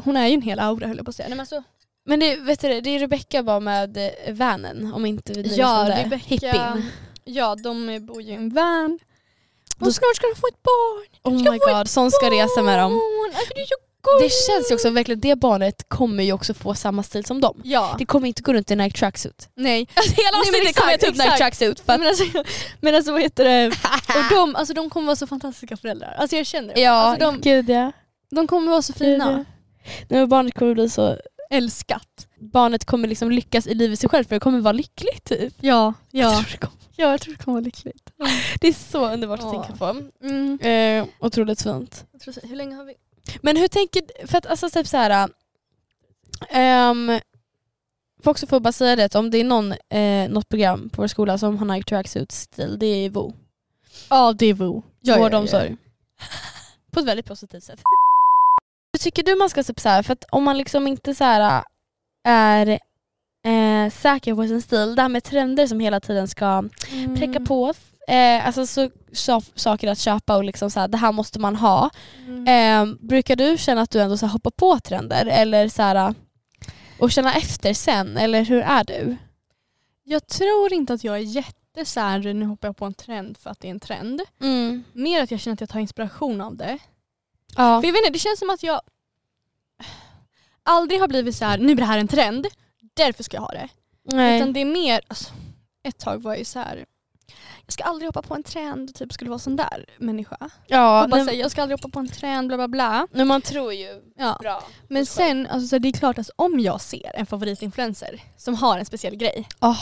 B: hon är ju en hel aura höll jag på att säga. Nej, men alltså,
A: Men det, vet du, det det är Rebecca bara med eh, vanen, om inte vi driver
B: Ja,
A: som det.
B: Rebecca-
A: Hippin.
B: ja, de bor ju i en van.
A: Då-
B: Och snart ska de få ett barn.
A: Oh
B: ska
A: my
B: få ett
A: god, sån ska resa med dem.
B: Barn. Alltså, det, är så gulligt.
A: Det känns ju också verkligen, det barnet kommer ju också få samma stil som dem.
B: Ja,
A: Det kommer inte gå runt i Nike tracksuit.
B: nej.
A: Alltså hela
B: men
A: avsnittet
B: exakt,
A: kommer jag ta upp Nike
B: exakt.
A: tracksuit för att eh,
B: Men alltså, men alltså vad heter
A: Mm.
B: det? Och de, alltså, de kommer vara så fantastiska föräldrar. Alltså jag känner det.
A: Ja,
B: alltså, de,
A: gud ja.
B: de kommer vara så fina.
A: Nej, men barnet kommer bli så...
B: Älskat.
A: Barnet kommer liksom lyckas i livet sig själv för det kommer vara lyckligt typ.
B: Ja, ja.
A: Jag tror det kommer-
B: ja, jag tror det kommer vara lyckligt.
A: Det är så underbart att
B: Ja.
A: tänka på.
B: Mm.
A: Eh, otroligt fint.
B: Jag tror så- Hur länge har vi?
A: Men hur tänker... För att alltså typ så här. ehm, folk som får bara säga det att om det är någon, eh, något program på vår skola som har Nike tracksuit-stil, det är VO.
B: Ja, det är Vo.
A: Vård och omsorg. På ett väldigt positivt sätt. Hur tycker du man ska typ så här, för att om man liksom inte så här är eh, säker på sin stil, det här med trender som hela tiden ska
B: Mm.
A: pricka på, eh, alltså så, så, saker att köpa och liksom så här, det här måste man ha.
B: Mm.
A: Eh, brukar du känna att du ändå så här hoppar på trender eller så här, och känna efter sen, eller hur är du?
B: Jag tror inte att jag är jätte så här, nu hoppar jag på en trend för att det är en trend. Mer att jag känner att jag tar inspiration av det.
A: Ja.
B: För jag vet inte, det känns som att jag aldrig har blivit så här, nu är det här en trend, därför ska jag ha det. Utan
A: Nej.
B: det är mer, alltså, ett tag var jag ju så här, jag ska aldrig hoppa på en trend, typ skulle vara sån där människa.
A: Ja,
B: Och bara
A: nej,
B: säga, jag ska aldrig hoppa på en trend, bla bla bla.
A: men man tror ju
B: Ja.
A: bra.
B: Men sen, alltså, så här, det är klart att om jag ser en favoritinfluencer som har en speciell grej.
A: Åh.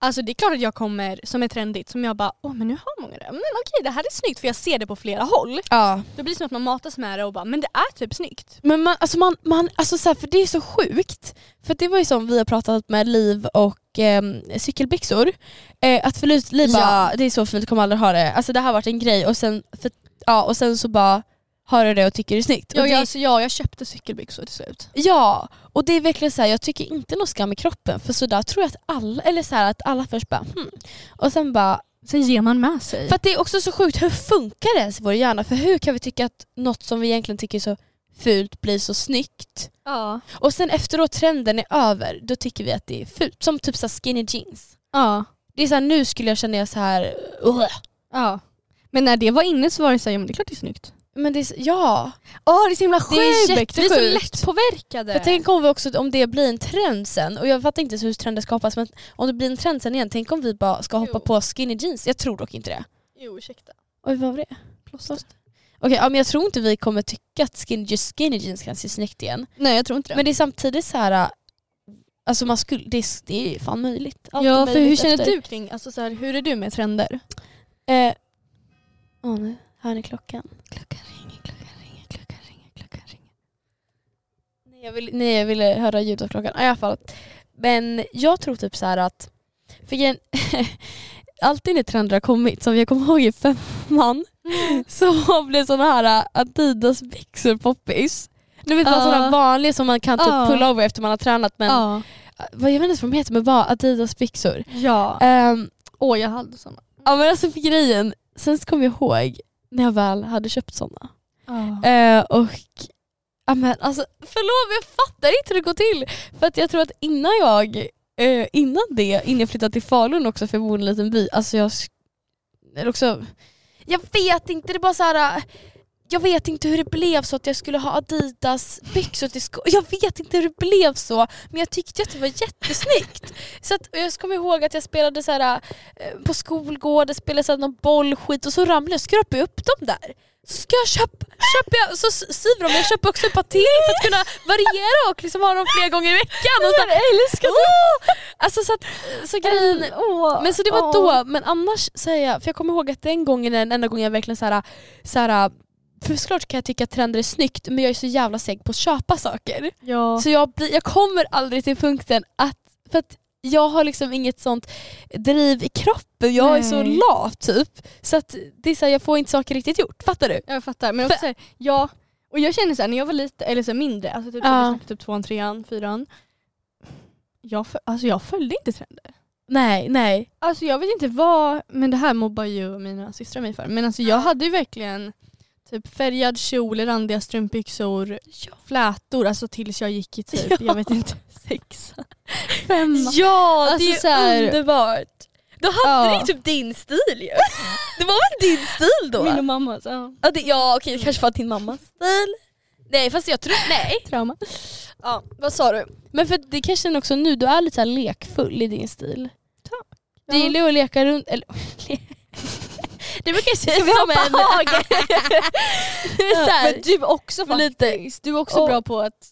B: Alltså det är klart att jag kommer, som är trendigt, som jag bara åh men nu har många det. Men okej det här är snyggt för jag ser det på flera håll.
A: Ja.
B: Då blir det som att man matas med det och bara men det är typ snyggt.
A: Men man, alltså man, man, alltså så här, för det är så sjukt. För det var ju som vi har pratat med Liv och ehm, cykelbyxor. Eh, att förut Liv
B: Ja.
A: bara, det är så fult, kommer aldrig ha det. Alltså det här har varit en grej och sen, för, ja, och sen så bara har du det och tycker det är snyggt.
B: Ja,
A: och det,
B: jag, alltså, ja jag köpte cykelbyxor till slut.
A: ja, och det är verkligen så här, jag tycker inte någon skam i kroppen för så där tror jag att alla, eller så här, att alla först bara hmm. Och sen bara,
B: Sen ger man med sig.
A: för att det är också så sjukt, hur funkar det ens i vår hjärna? För hur kan vi tycka att något som vi egentligen tycker är så fult blir så snyggt?
B: ja.
A: Och sen efteråt trenden är över, då tycker vi att det är fult. Som typ så här skinny jeans.
B: Ja.
A: Det är så här, nu skulle jag känna jag så här. "Ugh."
B: ja. Men när det var inne så var det såhär, ja men det är klart det är snyggt.
A: Men det är, så- ja.
B: Åh det är så himla
A: Det är
B: sjukt! Vi är så
A: jättesjukt.
B: lättpåverkade.
A: För tänk om vi också, om det blir en trend sen, och jag fattar inte ens hur trender skapas, men om det blir en trend sen igen, tänk om vi bara ska hoppa
B: Jo.
A: på skinny jeans. Jag tror dock inte det.
B: Jo ursäkta.
A: Oj, vad var det?
B: Plåster.
A: Okej, ja, men jag tror inte vi kommer tycka att skinny, just skinny jeans kan se snyggt igen.
B: Nej jag tror inte det.
A: Men det är samtidigt så här alltså man skulle, det, är, det är fan möjligt. Allt är
B: ja för hur
A: möjligt
B: känner
A: efter.
B: du kring, alltså så här, hur är du med trender?
A: Eh, åh, nu hör ni klockan.
B: Klockan ringer, klockan ringer, klockan ringer, klockan ringer.
A: Nej jag, vill, nej, jag ville höra ljudet av klockan. Ja, I alla fall. Men jag tror typ så här att, för igen, alltid när trender har kommit, som jag kommer ihåg i femman,
B: Mm.
A: så blev sådana här äh, Adidas-byxor poppis. Du vet bara
B: Ja.
A: sådana vanliga som man kan typ
B: Ja.
A: pulla över efter man har tränat men Äh,
B: Ja.
A: vad jag vet inte vad de heter men bara Adidas-byxor.
B: Ja.
A: Ehm,
B: Åh jag hade sådana.
A: ja men alltså för grejen, sen så kom jag ihåg när jag väl hade köpt sådana.
B: Eh,
A: Eh, och ja, men alltså förlåt men jag fattar inte hur det går till. För att jag tror att innan jag, eh, innan det, innan jag flyttade till Falun också för jag bor i en liten by, alltså jag, sk- eller också, jag vet inte, det är bara så här. eh, Jag vet inte hur det blev så att jag skulle ha Adidas byxor till sko. Jag vet inte hur det blev så men jag tyckte att det var jättesnyggt. Så att, och jag kommer ihåg att jag spelade så här, eh, på skolgården, spelade så här, någon bollskit och så ramlade jag och skrapade upp dem där. Så ska jag köpa, köper jag, så s- syr de, jag köper också ett par till för att kunna variera och liksom ha dem flera gånger i veckan. Och så, jag älskar oh! Alltså så att, så grejen,
B: åh,
A: men så det var
B: åh.
A: då, men annars säger jag, för jag kommer ihåg att den gången är den enda gången jag verkligen så här, så här för såklart kan jag tycka att trender är snyggt men jag är så jävla seg på att köpa saker.
B: Ja.
A: Så jag, blir, jag kommer aldrig till punkten att, för att jag har liksom inget sånt driv i kroppen, jag är så
B: Nej.
A: lat typ. Så att det är så här, jag får inte saker riktigt gjort, fattar du?
B: Jag fattar. Men också, så här, ja, och jag känner såhär när jag var lite, eller så här, mindre, alltså typ, så
A: Ja.
B: här, vi snackade typ tvåan, trean, fyran. Jag, föl- alltså, jag följde inte trender.
A: Nej, nej.
B: Alltså jag vet inte vad, men det här mobbar ju mina systrar mig för. Men alltså jag hade ju verkligen typ färgad kjol, randiga strumpbyxor, flätor, alltså tills jag gick i typ, jag vet inte, sexa,
A: Mm.
B: femma.
A: Ja,
B: Alltså
A: det är
B: så här-
A: underbart. Då hade
B: Ja.
A: det ju typ din stil ju. Det var väl din stil då?
B: Min och mammas ja.
A: Ja, det, ja okej, det kanske var din mammas stil. Nej fast jag tror, nej.
B: trauma.
A: Ja, vad sa du? Men för det kanske är också nu, du är lite så här lekfull i din stil. Du
B: Ja.
A: gillar ju att leka runt, eller le- Det brukar jag säga
B: Ska vi
A: som
B: hoppa
A: en... Det är så här,
B: Men du också
A: men
B: faktiskt.
A: lite,
B: Du är också
A: Och-
B: bra på att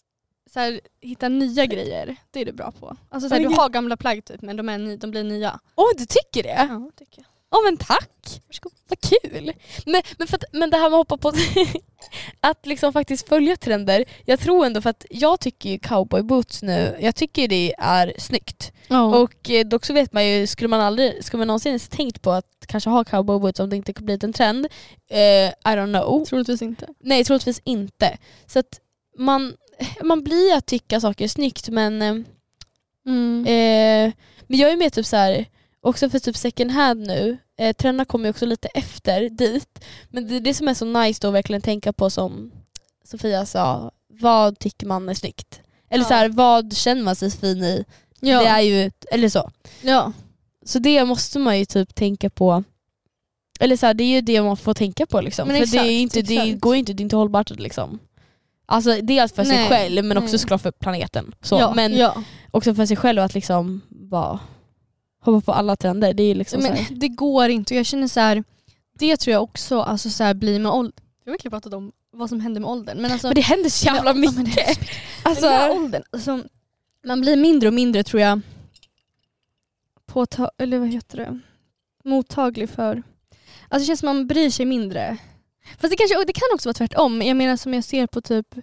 B: så här, hitta nya grejer. Det är du bra på. Alltså, så här,
A: Men
B: du
A: gud.
B: har gamla plagg typ men de, är ny, de blir nya.
A: åh du tycker det?
B: Ja, tycker jag.
A: Ja men tack! Vad kul! Men, men, för att, men det här med att hoppa på att liksom faktiskt följa trender. Jag tror ändå för att jag tycker ju cowboy boots nu, jag tycker ju det är snyggt.
B: Ja.
A: Och eh, dock så vet man ju, skulle man aldrig, skulle man någonsin ens tänkt på att kanske ha cowboy boots om det inte blivit en trend? Eh, I don't know.
B: Troligtvis inte.
A: Nej troligtvis inte. Så att man, man blir att tycka saker är snyggt men eh,
B: Mm.
A: Eh, men jag är mer typ så här, också för typ second hand nu, eh, trenderna kommer ju också lite efter dit. Men det är det som är så nice då att verkligen tänka på som Sofia sa, vad tycker man är snyggt? Eller
B: Ja.
A: så här, vad känner man sig fin i?
B: Ja.
A: Det är ju, eller så.
B: ja.
A: Så det måste man ju typ tänka på. Eller så här, det är ju det man får tänka på liksom.
B: Men
A: för det, är
B: exakt,
A: ju inte, det
B: exakt.
A: går ju inte, det är inte hållbart liksom. Alltså dels för sig
B: Nej,
A: själv men också
B: nej.
A: såklart för planeten. Så,
B: ja.
A: men
B: ja.
A: också för sig själv att liksom bara hoppa på alla trender. Det är liksom så här.
B: Men, alltså- det går inte och jag känner så här. det tror jag också alltså, så här, blir med åldern. Vi har verkligen pratat om vad som händer med åldern. Men alltså,
A: Men det händer så jävla
B: Ja, men det-
A: mycket.
B: Alltså,
A: Alltså,
B: den här åldern, alltså, man blir mindre och mindre tror jag påta- eller vad heter det? mottaglig för... Alltså det känns som man bryr sig mindre. Fast det, kanske, och det kan också vara tvärtom. Jag menar som jag ser på typ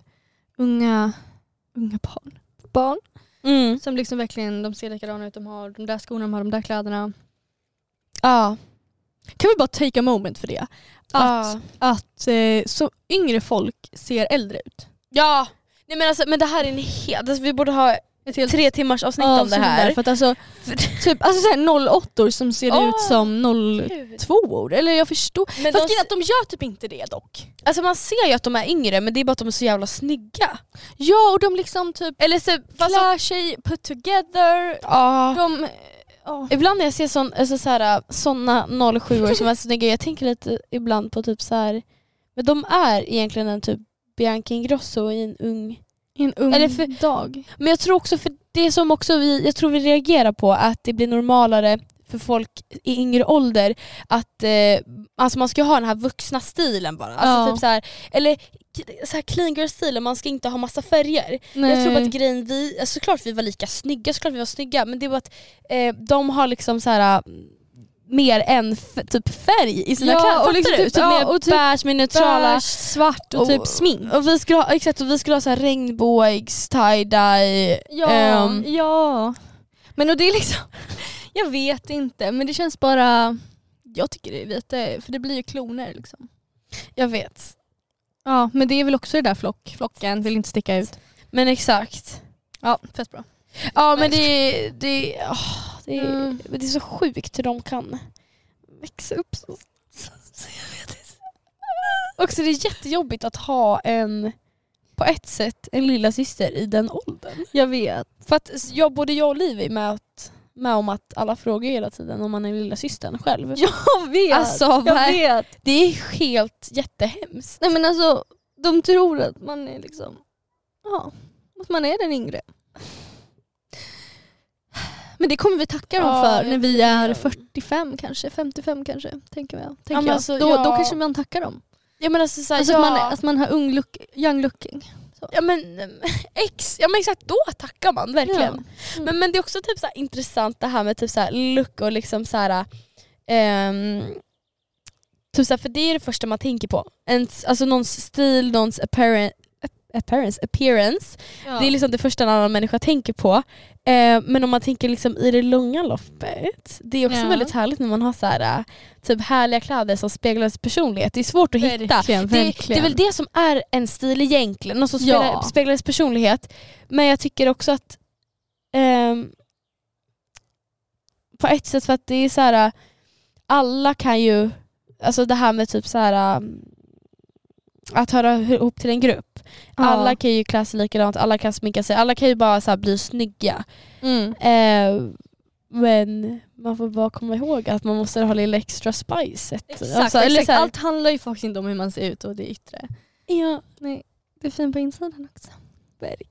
B: unga, unga barn. Barn
A: mm.
B: som liksom verkligen de ser likadana ut. De har de där skorna, de har de där kläderna.
A: ja.
B: Kan vi bara take a moment för det?
A: Ja.
B: Att, att eh, så yngre folk ser äldre ut.
A: ja. Nej, men, alltså, men det här är en helt... Alltså, vi borde ha
B: Ett helt
A: tre timmars avsnitt om det
B: avsnitt
A: här.
B: där, För att alltså, typ, alltså så här 08 som ser
A: Åh,
B: ut som 02 år Eller jag förstår.
A: Men
B: Fast
A: de,
B: grejen är att de gör typ inte det dock.
A: alltså, man ser ju att de är yngre men det är bara att de är så jävla snygga.
B: Ja och de liksom typ
A: Eller så... Fast,
B: klär sig put together.
A: ja.
B: De, ja.
A: Ibland när jag ser sån, alltså så här, såna 07-år som är så snygga, jag tänker lite ibland på typ så här. men de är egentligen en typ Bianca Ingrosso i en ung
B: I en ung
A: Eller för-
B: dag.
A: Men jag tror också, för det som också vi, jag tror vi reagerar på, att det blir normalare, för för folk i yngre ålder att eh, alltså man ska ha den här vuxna stilen bara. Alltså
B: Ja.
A: typ så här, eller k- så här clean girl stilen, man ska inte ha massa färger.
B: Nej.
A: Jag tror bara att grejen, vi, alltså, såklart vi var lika snygga, såklart vi var snygga men det var att eh, de har liksom så här mm, mer än f- typ färg i sina
B: Ja,
A: kläder.
B: och
A: Fattar
B: liksom
A: du?
B: typ-
A: typ
B: ja,
A: mer
B: och typ
A: beige, mer neutrala.
B: Beige, svart och,
A: Och-
B: typ smink.
A: Och vi skulle ha, exakt, och vi skulle ha så här regnbågs, tie-dye.
B: Ja,
A: ehm,
B: ja. Men och det är liksom, jag vet inte men det känns bara, jag tycker det är lite, för det blir ju kloner liksom.
A: jag vet.
B: Ja men det är väl också det där flock, flocken, vill inte sticka ut.
A: Men exakt.
B: Ja, fett bra.
A: Ja men
B: Nej.
A: det, det, åh, det, är-
B: Mm.
A: men det är så sjukt hur de kan växa upp så. så jag vet inte. Också det är jättejobbigt att ha en, på ett sätt, en lilla syster i den åldern.
B: Jag vet.
A: För att jag, både jag och Liv är med, att, med om att alla frågar hela tiden om man är lilla systern själv.
B: Jag vet.
A: Alltså,
B: jag
A: vad-
B: vet.
A: Det är helt jättehemskt.
B: Nej men alltså, de tror att man är liksom, ja, att man är den yngre. Men det kommer vi tacka dem
A: Ja,
B: för
A: jag
B: när vi
A: tror
B: är
A: det.
B: 45 kanske, 55 kanske, tänker jag. Tänker
A: men
B: jag.
A: alltså,
B: då, då
A: ja.
B: kanske man tackar dem.
A: Jag menar så, så här,
B: Alltså
A: ja,
B: att, man, att man har ung look, young looking.
A: ja, men, ex, ja men exakt, då tackar man verkligen.
B: Mm.
A: Men, men det är också typ så här intressant det här med typ så här look och liksom så här, ehm, typ så här, för det är det första man tänker på. Ens, alltså någons stil, någons apparent, appearance, appearance.
B: Ja.
A: Det är liksom det första en annan människa tänker på. Eh, men om man tänker liksom i det långa loppet, det är också
B: Ja.
A: väldigt härligt när man har så här, eh, typ härliga kläder som speglar ens personlighet. Det är svårt att hitta.
B: Verkligen,
A: Det, det är
B: verkligen.
A: väl det som är en stil egentligen, något som
B: Ja.
A: speglar, speglar ens personlighet. Men jag tycker också att ehm, på ett sätt för att det är så här alla kan ju, alltså det här med typ så här um, att höra ihop till en grupp.
B: Ja.
A: Alla kan ju klä sig likadant, alla kan sminka sig, alla kan ju bara så här bli snygga.
B: Mm.
A: Eh, men man får bara komma ihåg att man måste ha lite extra spicet.
B: Exakt,
A: Alltså, eller
B: exakt.
A: så här-
B: Allt handlar ju faktiskt inte om hur man ser ut och det yttre.
A: Ja,
B: Nej, det är fint på insidan också.
A: verkligen.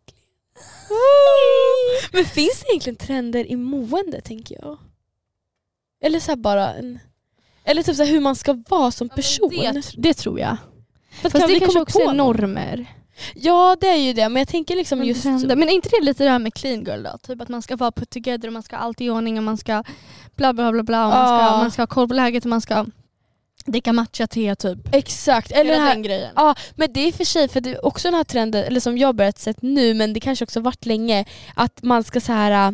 A: Men finns det egentligen trender i mående tänker jag? Eller så här bara en... Eller typ så här hur man ska vara som person.
B: Det, det tror jag.
A: För att
B: Fast
A: kan
B: det
A: vi
B: kanske
A: komma
B: också
A: på
B: är
A: någon?
B: normer.
A: Ja det är ju det, men jag tänker liksom
B: Men,
A: just...
B: trender. men är inte det lite det här med clean girl då? Typ att man ska vara put together och man ska ha allt i ordning och man ska bla bla bla bla. Och man, ska,
A: Ja.
B: man ska ha koll på läget och man ska dricka matcha-te typ.
A: Exakt, eller
B: Hela
A: den här,
B: den grejen.
A: Ja, men det är i och för sig för det är också den här trenden, eller som jag börjat sett nu men det kanske också varit länge, att man ska så här äh,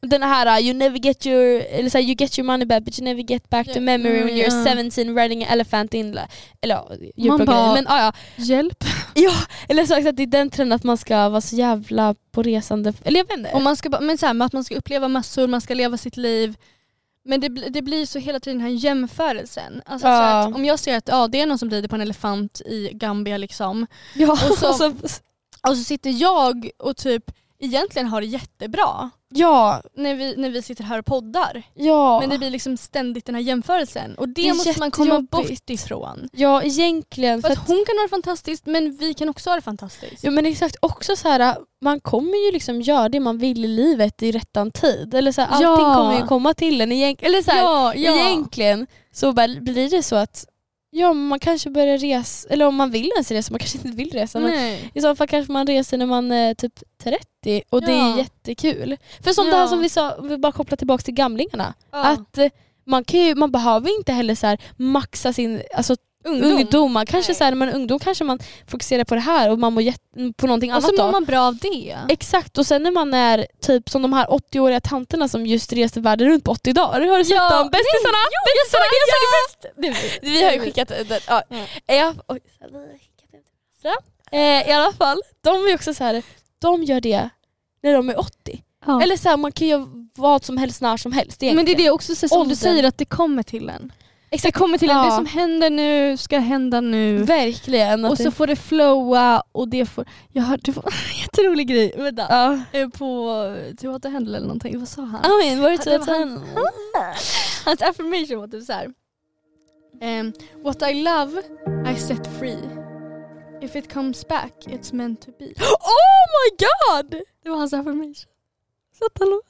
A: den här äh, you never get your, eller så här, you get your money back but you never get back
B: Ja,
A: the memory when
B: mm, ja.
A: you're 17 riding an elephant in, la- eller ja, djurplågeri.
B: bara-
A: men ja, ja.
B: Hjälp.
A: Eller så att det är den trenden att man ska vara så jävla på resande, eller jag vet inte.
B: Och man ska, bara- men så här, med att man ska uppleva massor, man ska leva sitt liv. Men det, bli- det blir så hela tiden den här jämförelsen. Alltså,
A: Ja.
B: så att om jag ser att ja, det är någon som rider på en elefant i Gambia liksom.
A: ja,
B: och så-
A: så-
B: Och så sitter jag och typ egentligen har det jättebra
A: ja,
B: när vi, när vi sitter här och poddar.
A: ja.
B: Men det blir liksom ständigt den här jämförelsen. Och det,
A: Det är
B: måste man komma
A: jättejobbigt.
B: bort ifrån.
A: ja egentligen.
B: För
A: För
B: att
A: att,
B: hon kan ha det fantastiskt men vi kan också ha det fantastiskt.
A: ja, men exakt, också så här, man kommer ju liksom göra det man vill i livet i rättan tid. Eller så här, allting
B: Ja.
A: kommer ju komma till en. Egent, eller så här,
B: ja, ja.
A: Egentligen så bara blir det så att ja, man kanske börjar resa, eller om man vill ens resa, man kanske inte vill resa. Men
B: Nej.
A: I så fall kanske man reser när man är typ 30 och det
B: Ja.
A: är jättekul. För som det här
B: Ja.
A: som vi sa, om vi bara kopplar tillbaka till gamlingarna.
B: Ja.
A: Att eh, man, kan ju, man behöver inte heller så här maxa sin alltså, ungdom. Man kanske
B: Nej.
A: så här, när man är ungdom kanske man fokuserar på det här och man mår jätte- på någonting
B: Och
A: annat.
B: så
A: då.
B: mår man bra av det.
A: Exakt, och sen när man är typ som de här 80-åriga tanterna som just reste världen runt på 80 dagar. Har du sett
B: Ja,
A: dem? Bästisarna! Bästisarna! Jag såg det bäst!
B: Du,
A: Vi har ju skickat den. Ja.
B: Mm.
A: Ja, oj, så vi har skickat den till varandra. eh, I alla fall, de är också så här, de gör det när de är 80.
B: Ja.
A: Eller så här, man kan göra vad som helst när som helst
B: men det är
A: egentligen.
B: det också så, som
A: Åldern.
B: du säger att det kommer till en. Det
A: Exakt,
B: kommer till en.
A: Ja.
B: Det som händer nu ska hända nu.
A: verkligen. att
B: Och så
A: det-
B: får det flowa och det får... Jag hörde det var en jätterolig grej. Vänta.
A: ja.
B: Eh, På eh, Teater Händel eller någonting. Vad sa han?
A: Amin, var det
B: Det var
A: typ han?
B: Hans affirmation var typ såhär. Um, What I love I set free. If it comes back it's meant to be.
A: Oh my god!
B: Det var hans affirmation. Så att han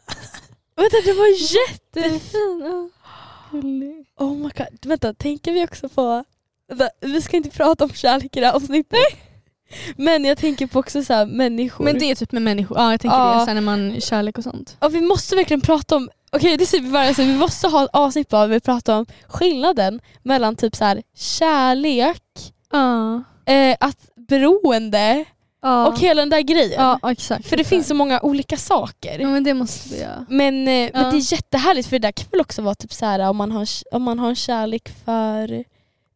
A: Vänta det var jätte...
B: Jättefin. Gullig.
A: Oh my god. Vänta tänker vi också på... Vänta, vi ska inte prata om kärlek i det här avsnittet. Men jag tänker på också så här, människor.
B: Men det är typ med människor, ja jag tänker
A: Ja.
B: det. Sen när man kärlek och sånt.
A: Ja, vi måste verkligen prata om, okej det typ ser vi varje avsnitt, vi måste ha ett avsnitt bara där vi pratar om skillnaden mellan typ så här, kärlek,
B: Ja.
A: eh, att beroende
B: Ja.
A: och hela den där grejen.
B: Ja exakt.
A: För det finns så många olika saker.
B: Ja men det måste vi göra.
A: Men, eh,
B: Ja.
A: men det är jättehärligt för det där kan väl också vara typ så här om man har, om man har en kärlek för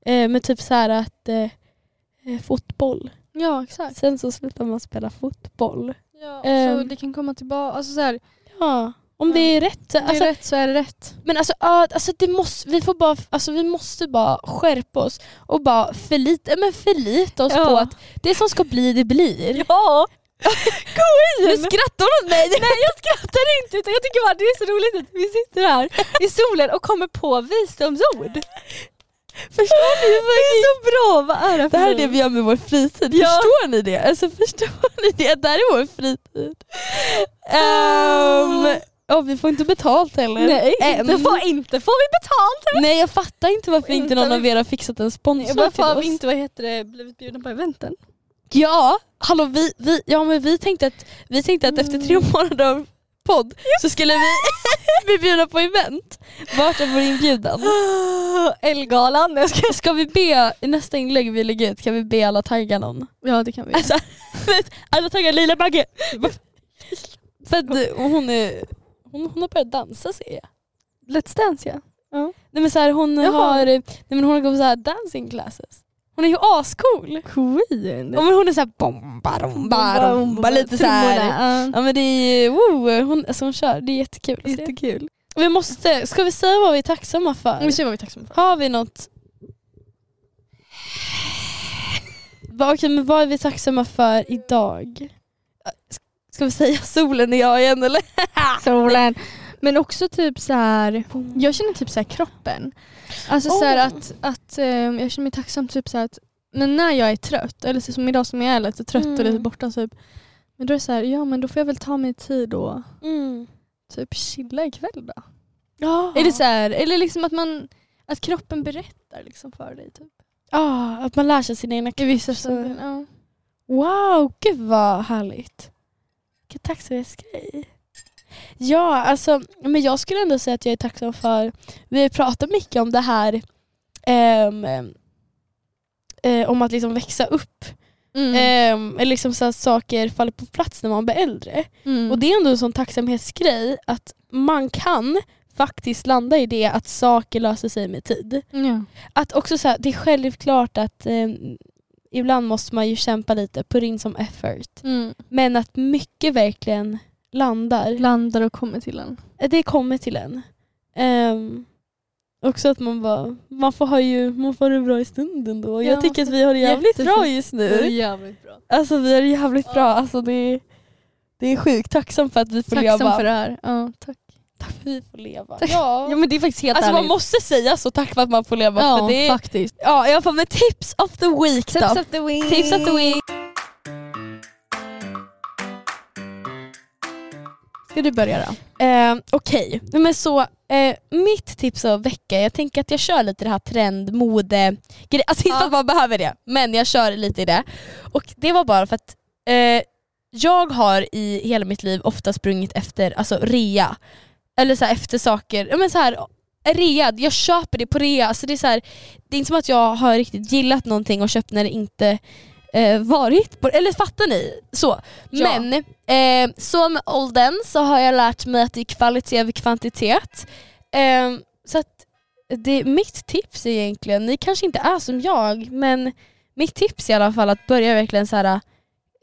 A: eh, men typ så här att eh, eh, fotboll.
B: Ja exakt.
A: Sen så slutar man spela fotboll.
B: Ja,
A: Ehm.
B: så det kan komma tillbaka, alltså så här,
A: Ja, om det är rätt.
B: är det
A: Alltså,
B: rätt så är det rätt.
A: Men alltså, ja, alltså, det måste, vi, får bara, alltså vi måste bara skärpa oss och bara förlita, men förlita oss
B: Ja.
A: på att det som ska bli, det blir.
B: Ja!
A: Nu skrattar hon åt mig! Nej jag skrattar inte utan jag tycker bara det är så roligt att vi sitter här i solen och kommer på visdomsord. Förstår ni? Det är så bra, vad är det Det här är det vi gör med vår fritid, förstår ni det? Alltså förstår ni det? Det här är vår fritid. Ehm, ja, vi får inte betalt heller.
B: Nej,
A: Ehm.
B: inte, får, inte får vi betalt!
A: Nej jag fattar inte varför
B: Inte
A: inte någon
B: vi-
A: av er har fixat en sponsor
B: Varför
A: till
B: har
A: oss.
B: vi inte vad heter det, blivit bjudna på eventen?
A: Ja, hallå vi, vi, ja men vi tänkte att, vi tänkte att efter
B: Mm.
A: tre månader av podd så skulle vi bli bjudna på event. Vart är vår inbjudan?
B: Elgalan, jag ska...
A: Ska vi be, i nästa inlägg vi lägger ut, kan vi be alla tagga någon?
B: Ja det kan vi
A: Alltså, alla taggar Lila Bagge! För att hon, är, hon, hon har börjat dansa ser jag.
B: Let's dance ja.
A: Nej men så här, hon
B: Jaha.
A: har, nej men hon har gått på så här dancing classes. Hon är ju ascool!
B: Queen.
A: Ja, men hon är såhär bomba, romba, romba, lite såhär. Ja men det är ju, wow, hon, alltså hon kör, det är jättekul. att se.
B: Jättekul. Mm.
A: Vi måste, ska vi säga vad vi är tacksamma
B: Vi
A: för?
B: ser vad vi är tacksamma för.
A: Har vi något? Va, okej men vad är vi tacksamma för idag? S- Ska vi säga solen är jag igen eller?
B: Solen. Men också typ så här. jag känner typ så här kroppen. Alltså så här
A: Åh.
B: att, att eh, jag känner mig tacksam typ så här att men när jag är trött, eller så som idag som jag är lite trött och lite
A: Mm.
B: borta typ. Men då är det så här, ja men då får jag väl ta mig tid och
A: Mm.
B: typ chilla ikväll då.
A: Ja.
B: Är det så här, eller liksom att man att kroppen berättar liksom för dig typ.
A: Ja, att man lär sig sina egna
B: I vissa stunder.
A: stunder,
B: Ja.
A: Wow, gud vad härligt. Vilken tacksamhetsgrej. Ja, alltså, men jag skulle ändå säga att jag är tacksam för, vi har pratat mycket om det här ehm, eh, om att liksom växa upp.
B: Mm. Eh,
A: Ehm, eller liksom så att saker faller på plats när man blir äldre.
B: Mm.
A: Och det är ändå en sån tacksamhetsgrej att man kan faktiskt landa i det att saker löser sig med tid
B: ja.
A: att också så här, det är självklart att eh, ibland måste man ju kämpa lite, put in som effort.
B: mm.
A: Men att mycket verkligen landar.
B: Landar och kommer till en.
A: Det kommer till en. Ehm, också att man bara, man får, ha ju, man får det bra i stunden då.
B: Ja,
A: Jag tycker att vi har det jävligt
B: jättefint.
A: bra just nu.
B: jävligt bra.
A: Alltså vi har det jävligt bra. Alltså, det, är- det är sjukt tacksam för att vi får
B: Tacksam
A: leva.
B: för det här. Ja, tack.
A: Tack för att vi får leva.
B: Tack.
A: Ja.
B: men det är faktiskt helt
A: Alltså man måste säga så, tack för att man får leva. för det är,
B: faktiskt.
A: ja, i alla fall med tips of the week då.
B: Tips of the week.
A: Tips of the week.
B: Ska du börja då?
A: Eh, Okej, Nej, men så eh, mitt tips av vecka, jag tänker att jag kör lite det här trend, mode, gre- alltså inte
B: Ja.
A: att man behöver det, men jag kör lite i det. Och det var bara för att eh, jag har i hela mitt liv ofta sprungit efter alltså, rea, eller så här, efter saker, ja, men så här, rea, jag köper det på rea. Alltså, det, är så här, det är inte som att jag har riktigt gillat någonting och köpt när det inte eh, varit på Eller fattar ni? Så.
B: Ja.
A: Men eh, så med åldern så har jag lärt mig att det är kvalitet över kvantitet. Eh, så att det, mitt tips är egentligen, ni kanske inte är som jag, men mitt tips är i alla fall att börja verkligen så här.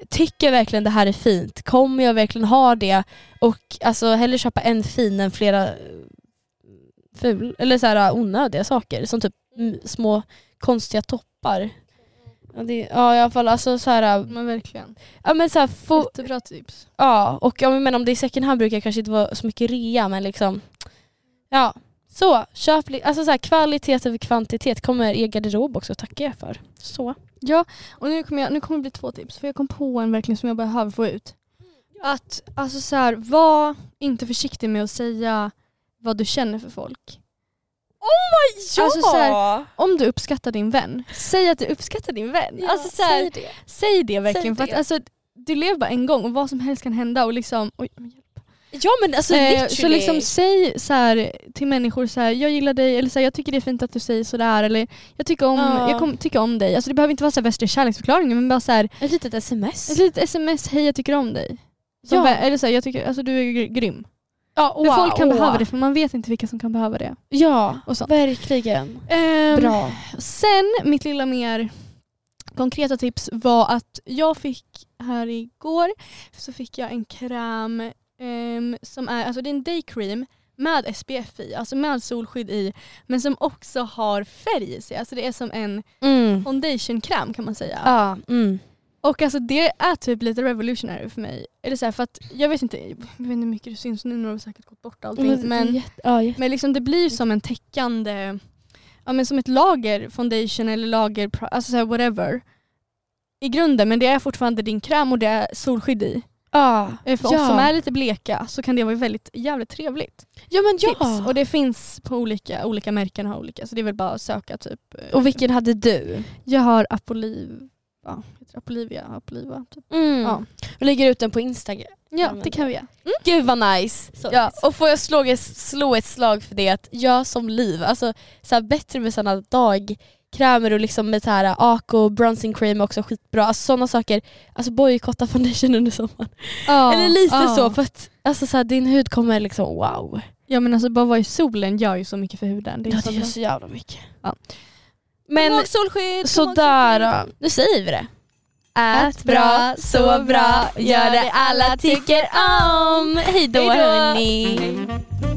A: Tycker jag verkligen det här är fint? Kommer jag verkligen ha det? Och alltså hellre köpa en fin än flera eh, ful, eller så här, eh, onödiga saker som typ mm, små konstiga toppar. Ja, det, ja i alla fall alltså så här,
B: Men verkligen.
A: ja men så här, få,
B: Jättebra tips.
A: ja och ja, men om det är second hand brukar det kanske inte vara så mycket rea men liksom ja så köp, li- alltså så här, kvalitet över kvantitet kommer er garderob också tacka er för. Så.
B: Ja, och nu kommer, jag, nu kommer det bli två tips. För jag kom på en verkligen som jag behöver få ut. Att alltså så här, var inte försiktig med att säga vad du känner för folk.
A: Ja!
B: Alltså så här, Om du uppskattar din vän, säg att du uppskattar din vän.
A: ja
B: alltså så här,
A: säg det.
B: Säg det verkligen.
A: Säg
B: För
A: det.
B: att, alltså, du lever bara en gång och vad som helst kan hända. Och liksom, oj, men hjälp.
A: Ja men alltså
B: eh,
A: literally.
B: så liksom, säg så här, till människor så här, jag gillar dig, eller så här, jag tycker det är fint att du säger sådär. Eller jag tycker om,
A: Ja.
B: jag kom, tycker om dig. Alltså, det behöver inte vara så här, värsta kärleksförklaringen men bara så här,
A: ett litet sms.
B: ett litet sms, hej jag tycker om dig. Som
A: Ja.
B: vä- Eller så här, jag tycker, alltså, du är gr- grym.
A: ja,
B: För folk kan
A: wow.
B: behöva det för man vet inte vilka som kan behöva det.
A: Ja,
B: Och sånt.
A: verkligen.
B: Ehm,
A: Bra.
B: Sen mitt lilla mer konkreta tips var att jag fick här igår så fick jag en kräm ehm, som är, alltså det är en day cream med SPF i, alltså med solskydd i men som också har färg i sig. Alltså det är som en
A: Mm.
B: foundationkräm kan man säga.
A: Ja, mm.
B: Och alltså det är typ lite revolutionary för mig. Eller så här, för att jag vet inte, jag vet inte hur mycket det syns nu, nu har vi säkert gått bort allting.
A: Men,
B: men
A: jätte, ja, jätte.
B: men liksom det blir som en täckande, ja men som ett lager foundation eller lager, pro- alltså så här whatever. I grunden, men det är fortfarande din kräm och det är solskydd i.
A: Ja.
B: Eh, För oss som är lite bleka så kan det vara väldigt jävligt trevligt.
A: ja men
B: Tips.
A: ja.
B: Och det finns på olika, olika märken har olika så det är väl bara att söka typ. eh,
A: Och vilken hade du?
B: Jag har Apoliv, ja, heter Apolivia, Apoliva. Typ.
A: Ja. Jag Mm. lägger ut den på Instagram.
B: Ja det kan vi göra.
A: Gud vad nice.
B: Så
A: Ja, och får jag slå, slå ett slag för det att jag som liv, alltså så här, bättre med sådana dagkrämer och liksom med så här Ako, bronzing cream är också skitbra. Alltså sådana saker, alltså bojkotta foundation under sommaren.
B: Ja,
A: Eller lite
B: ja.
A: så för att alltså, så här, din hud kommer liksom wow.
B: Ja men alltså bara vara i solen gör ju så mycket för huden. Det är så bra.
A: så jävla mycket.
B: Ja.
A: Men
B: solskydd!
A: sådär då. Nu säger vi det. Ät bra, sov bra, gör det alla tycker om. Hej då
B: Hej då.
A: hörni.
B: Hej.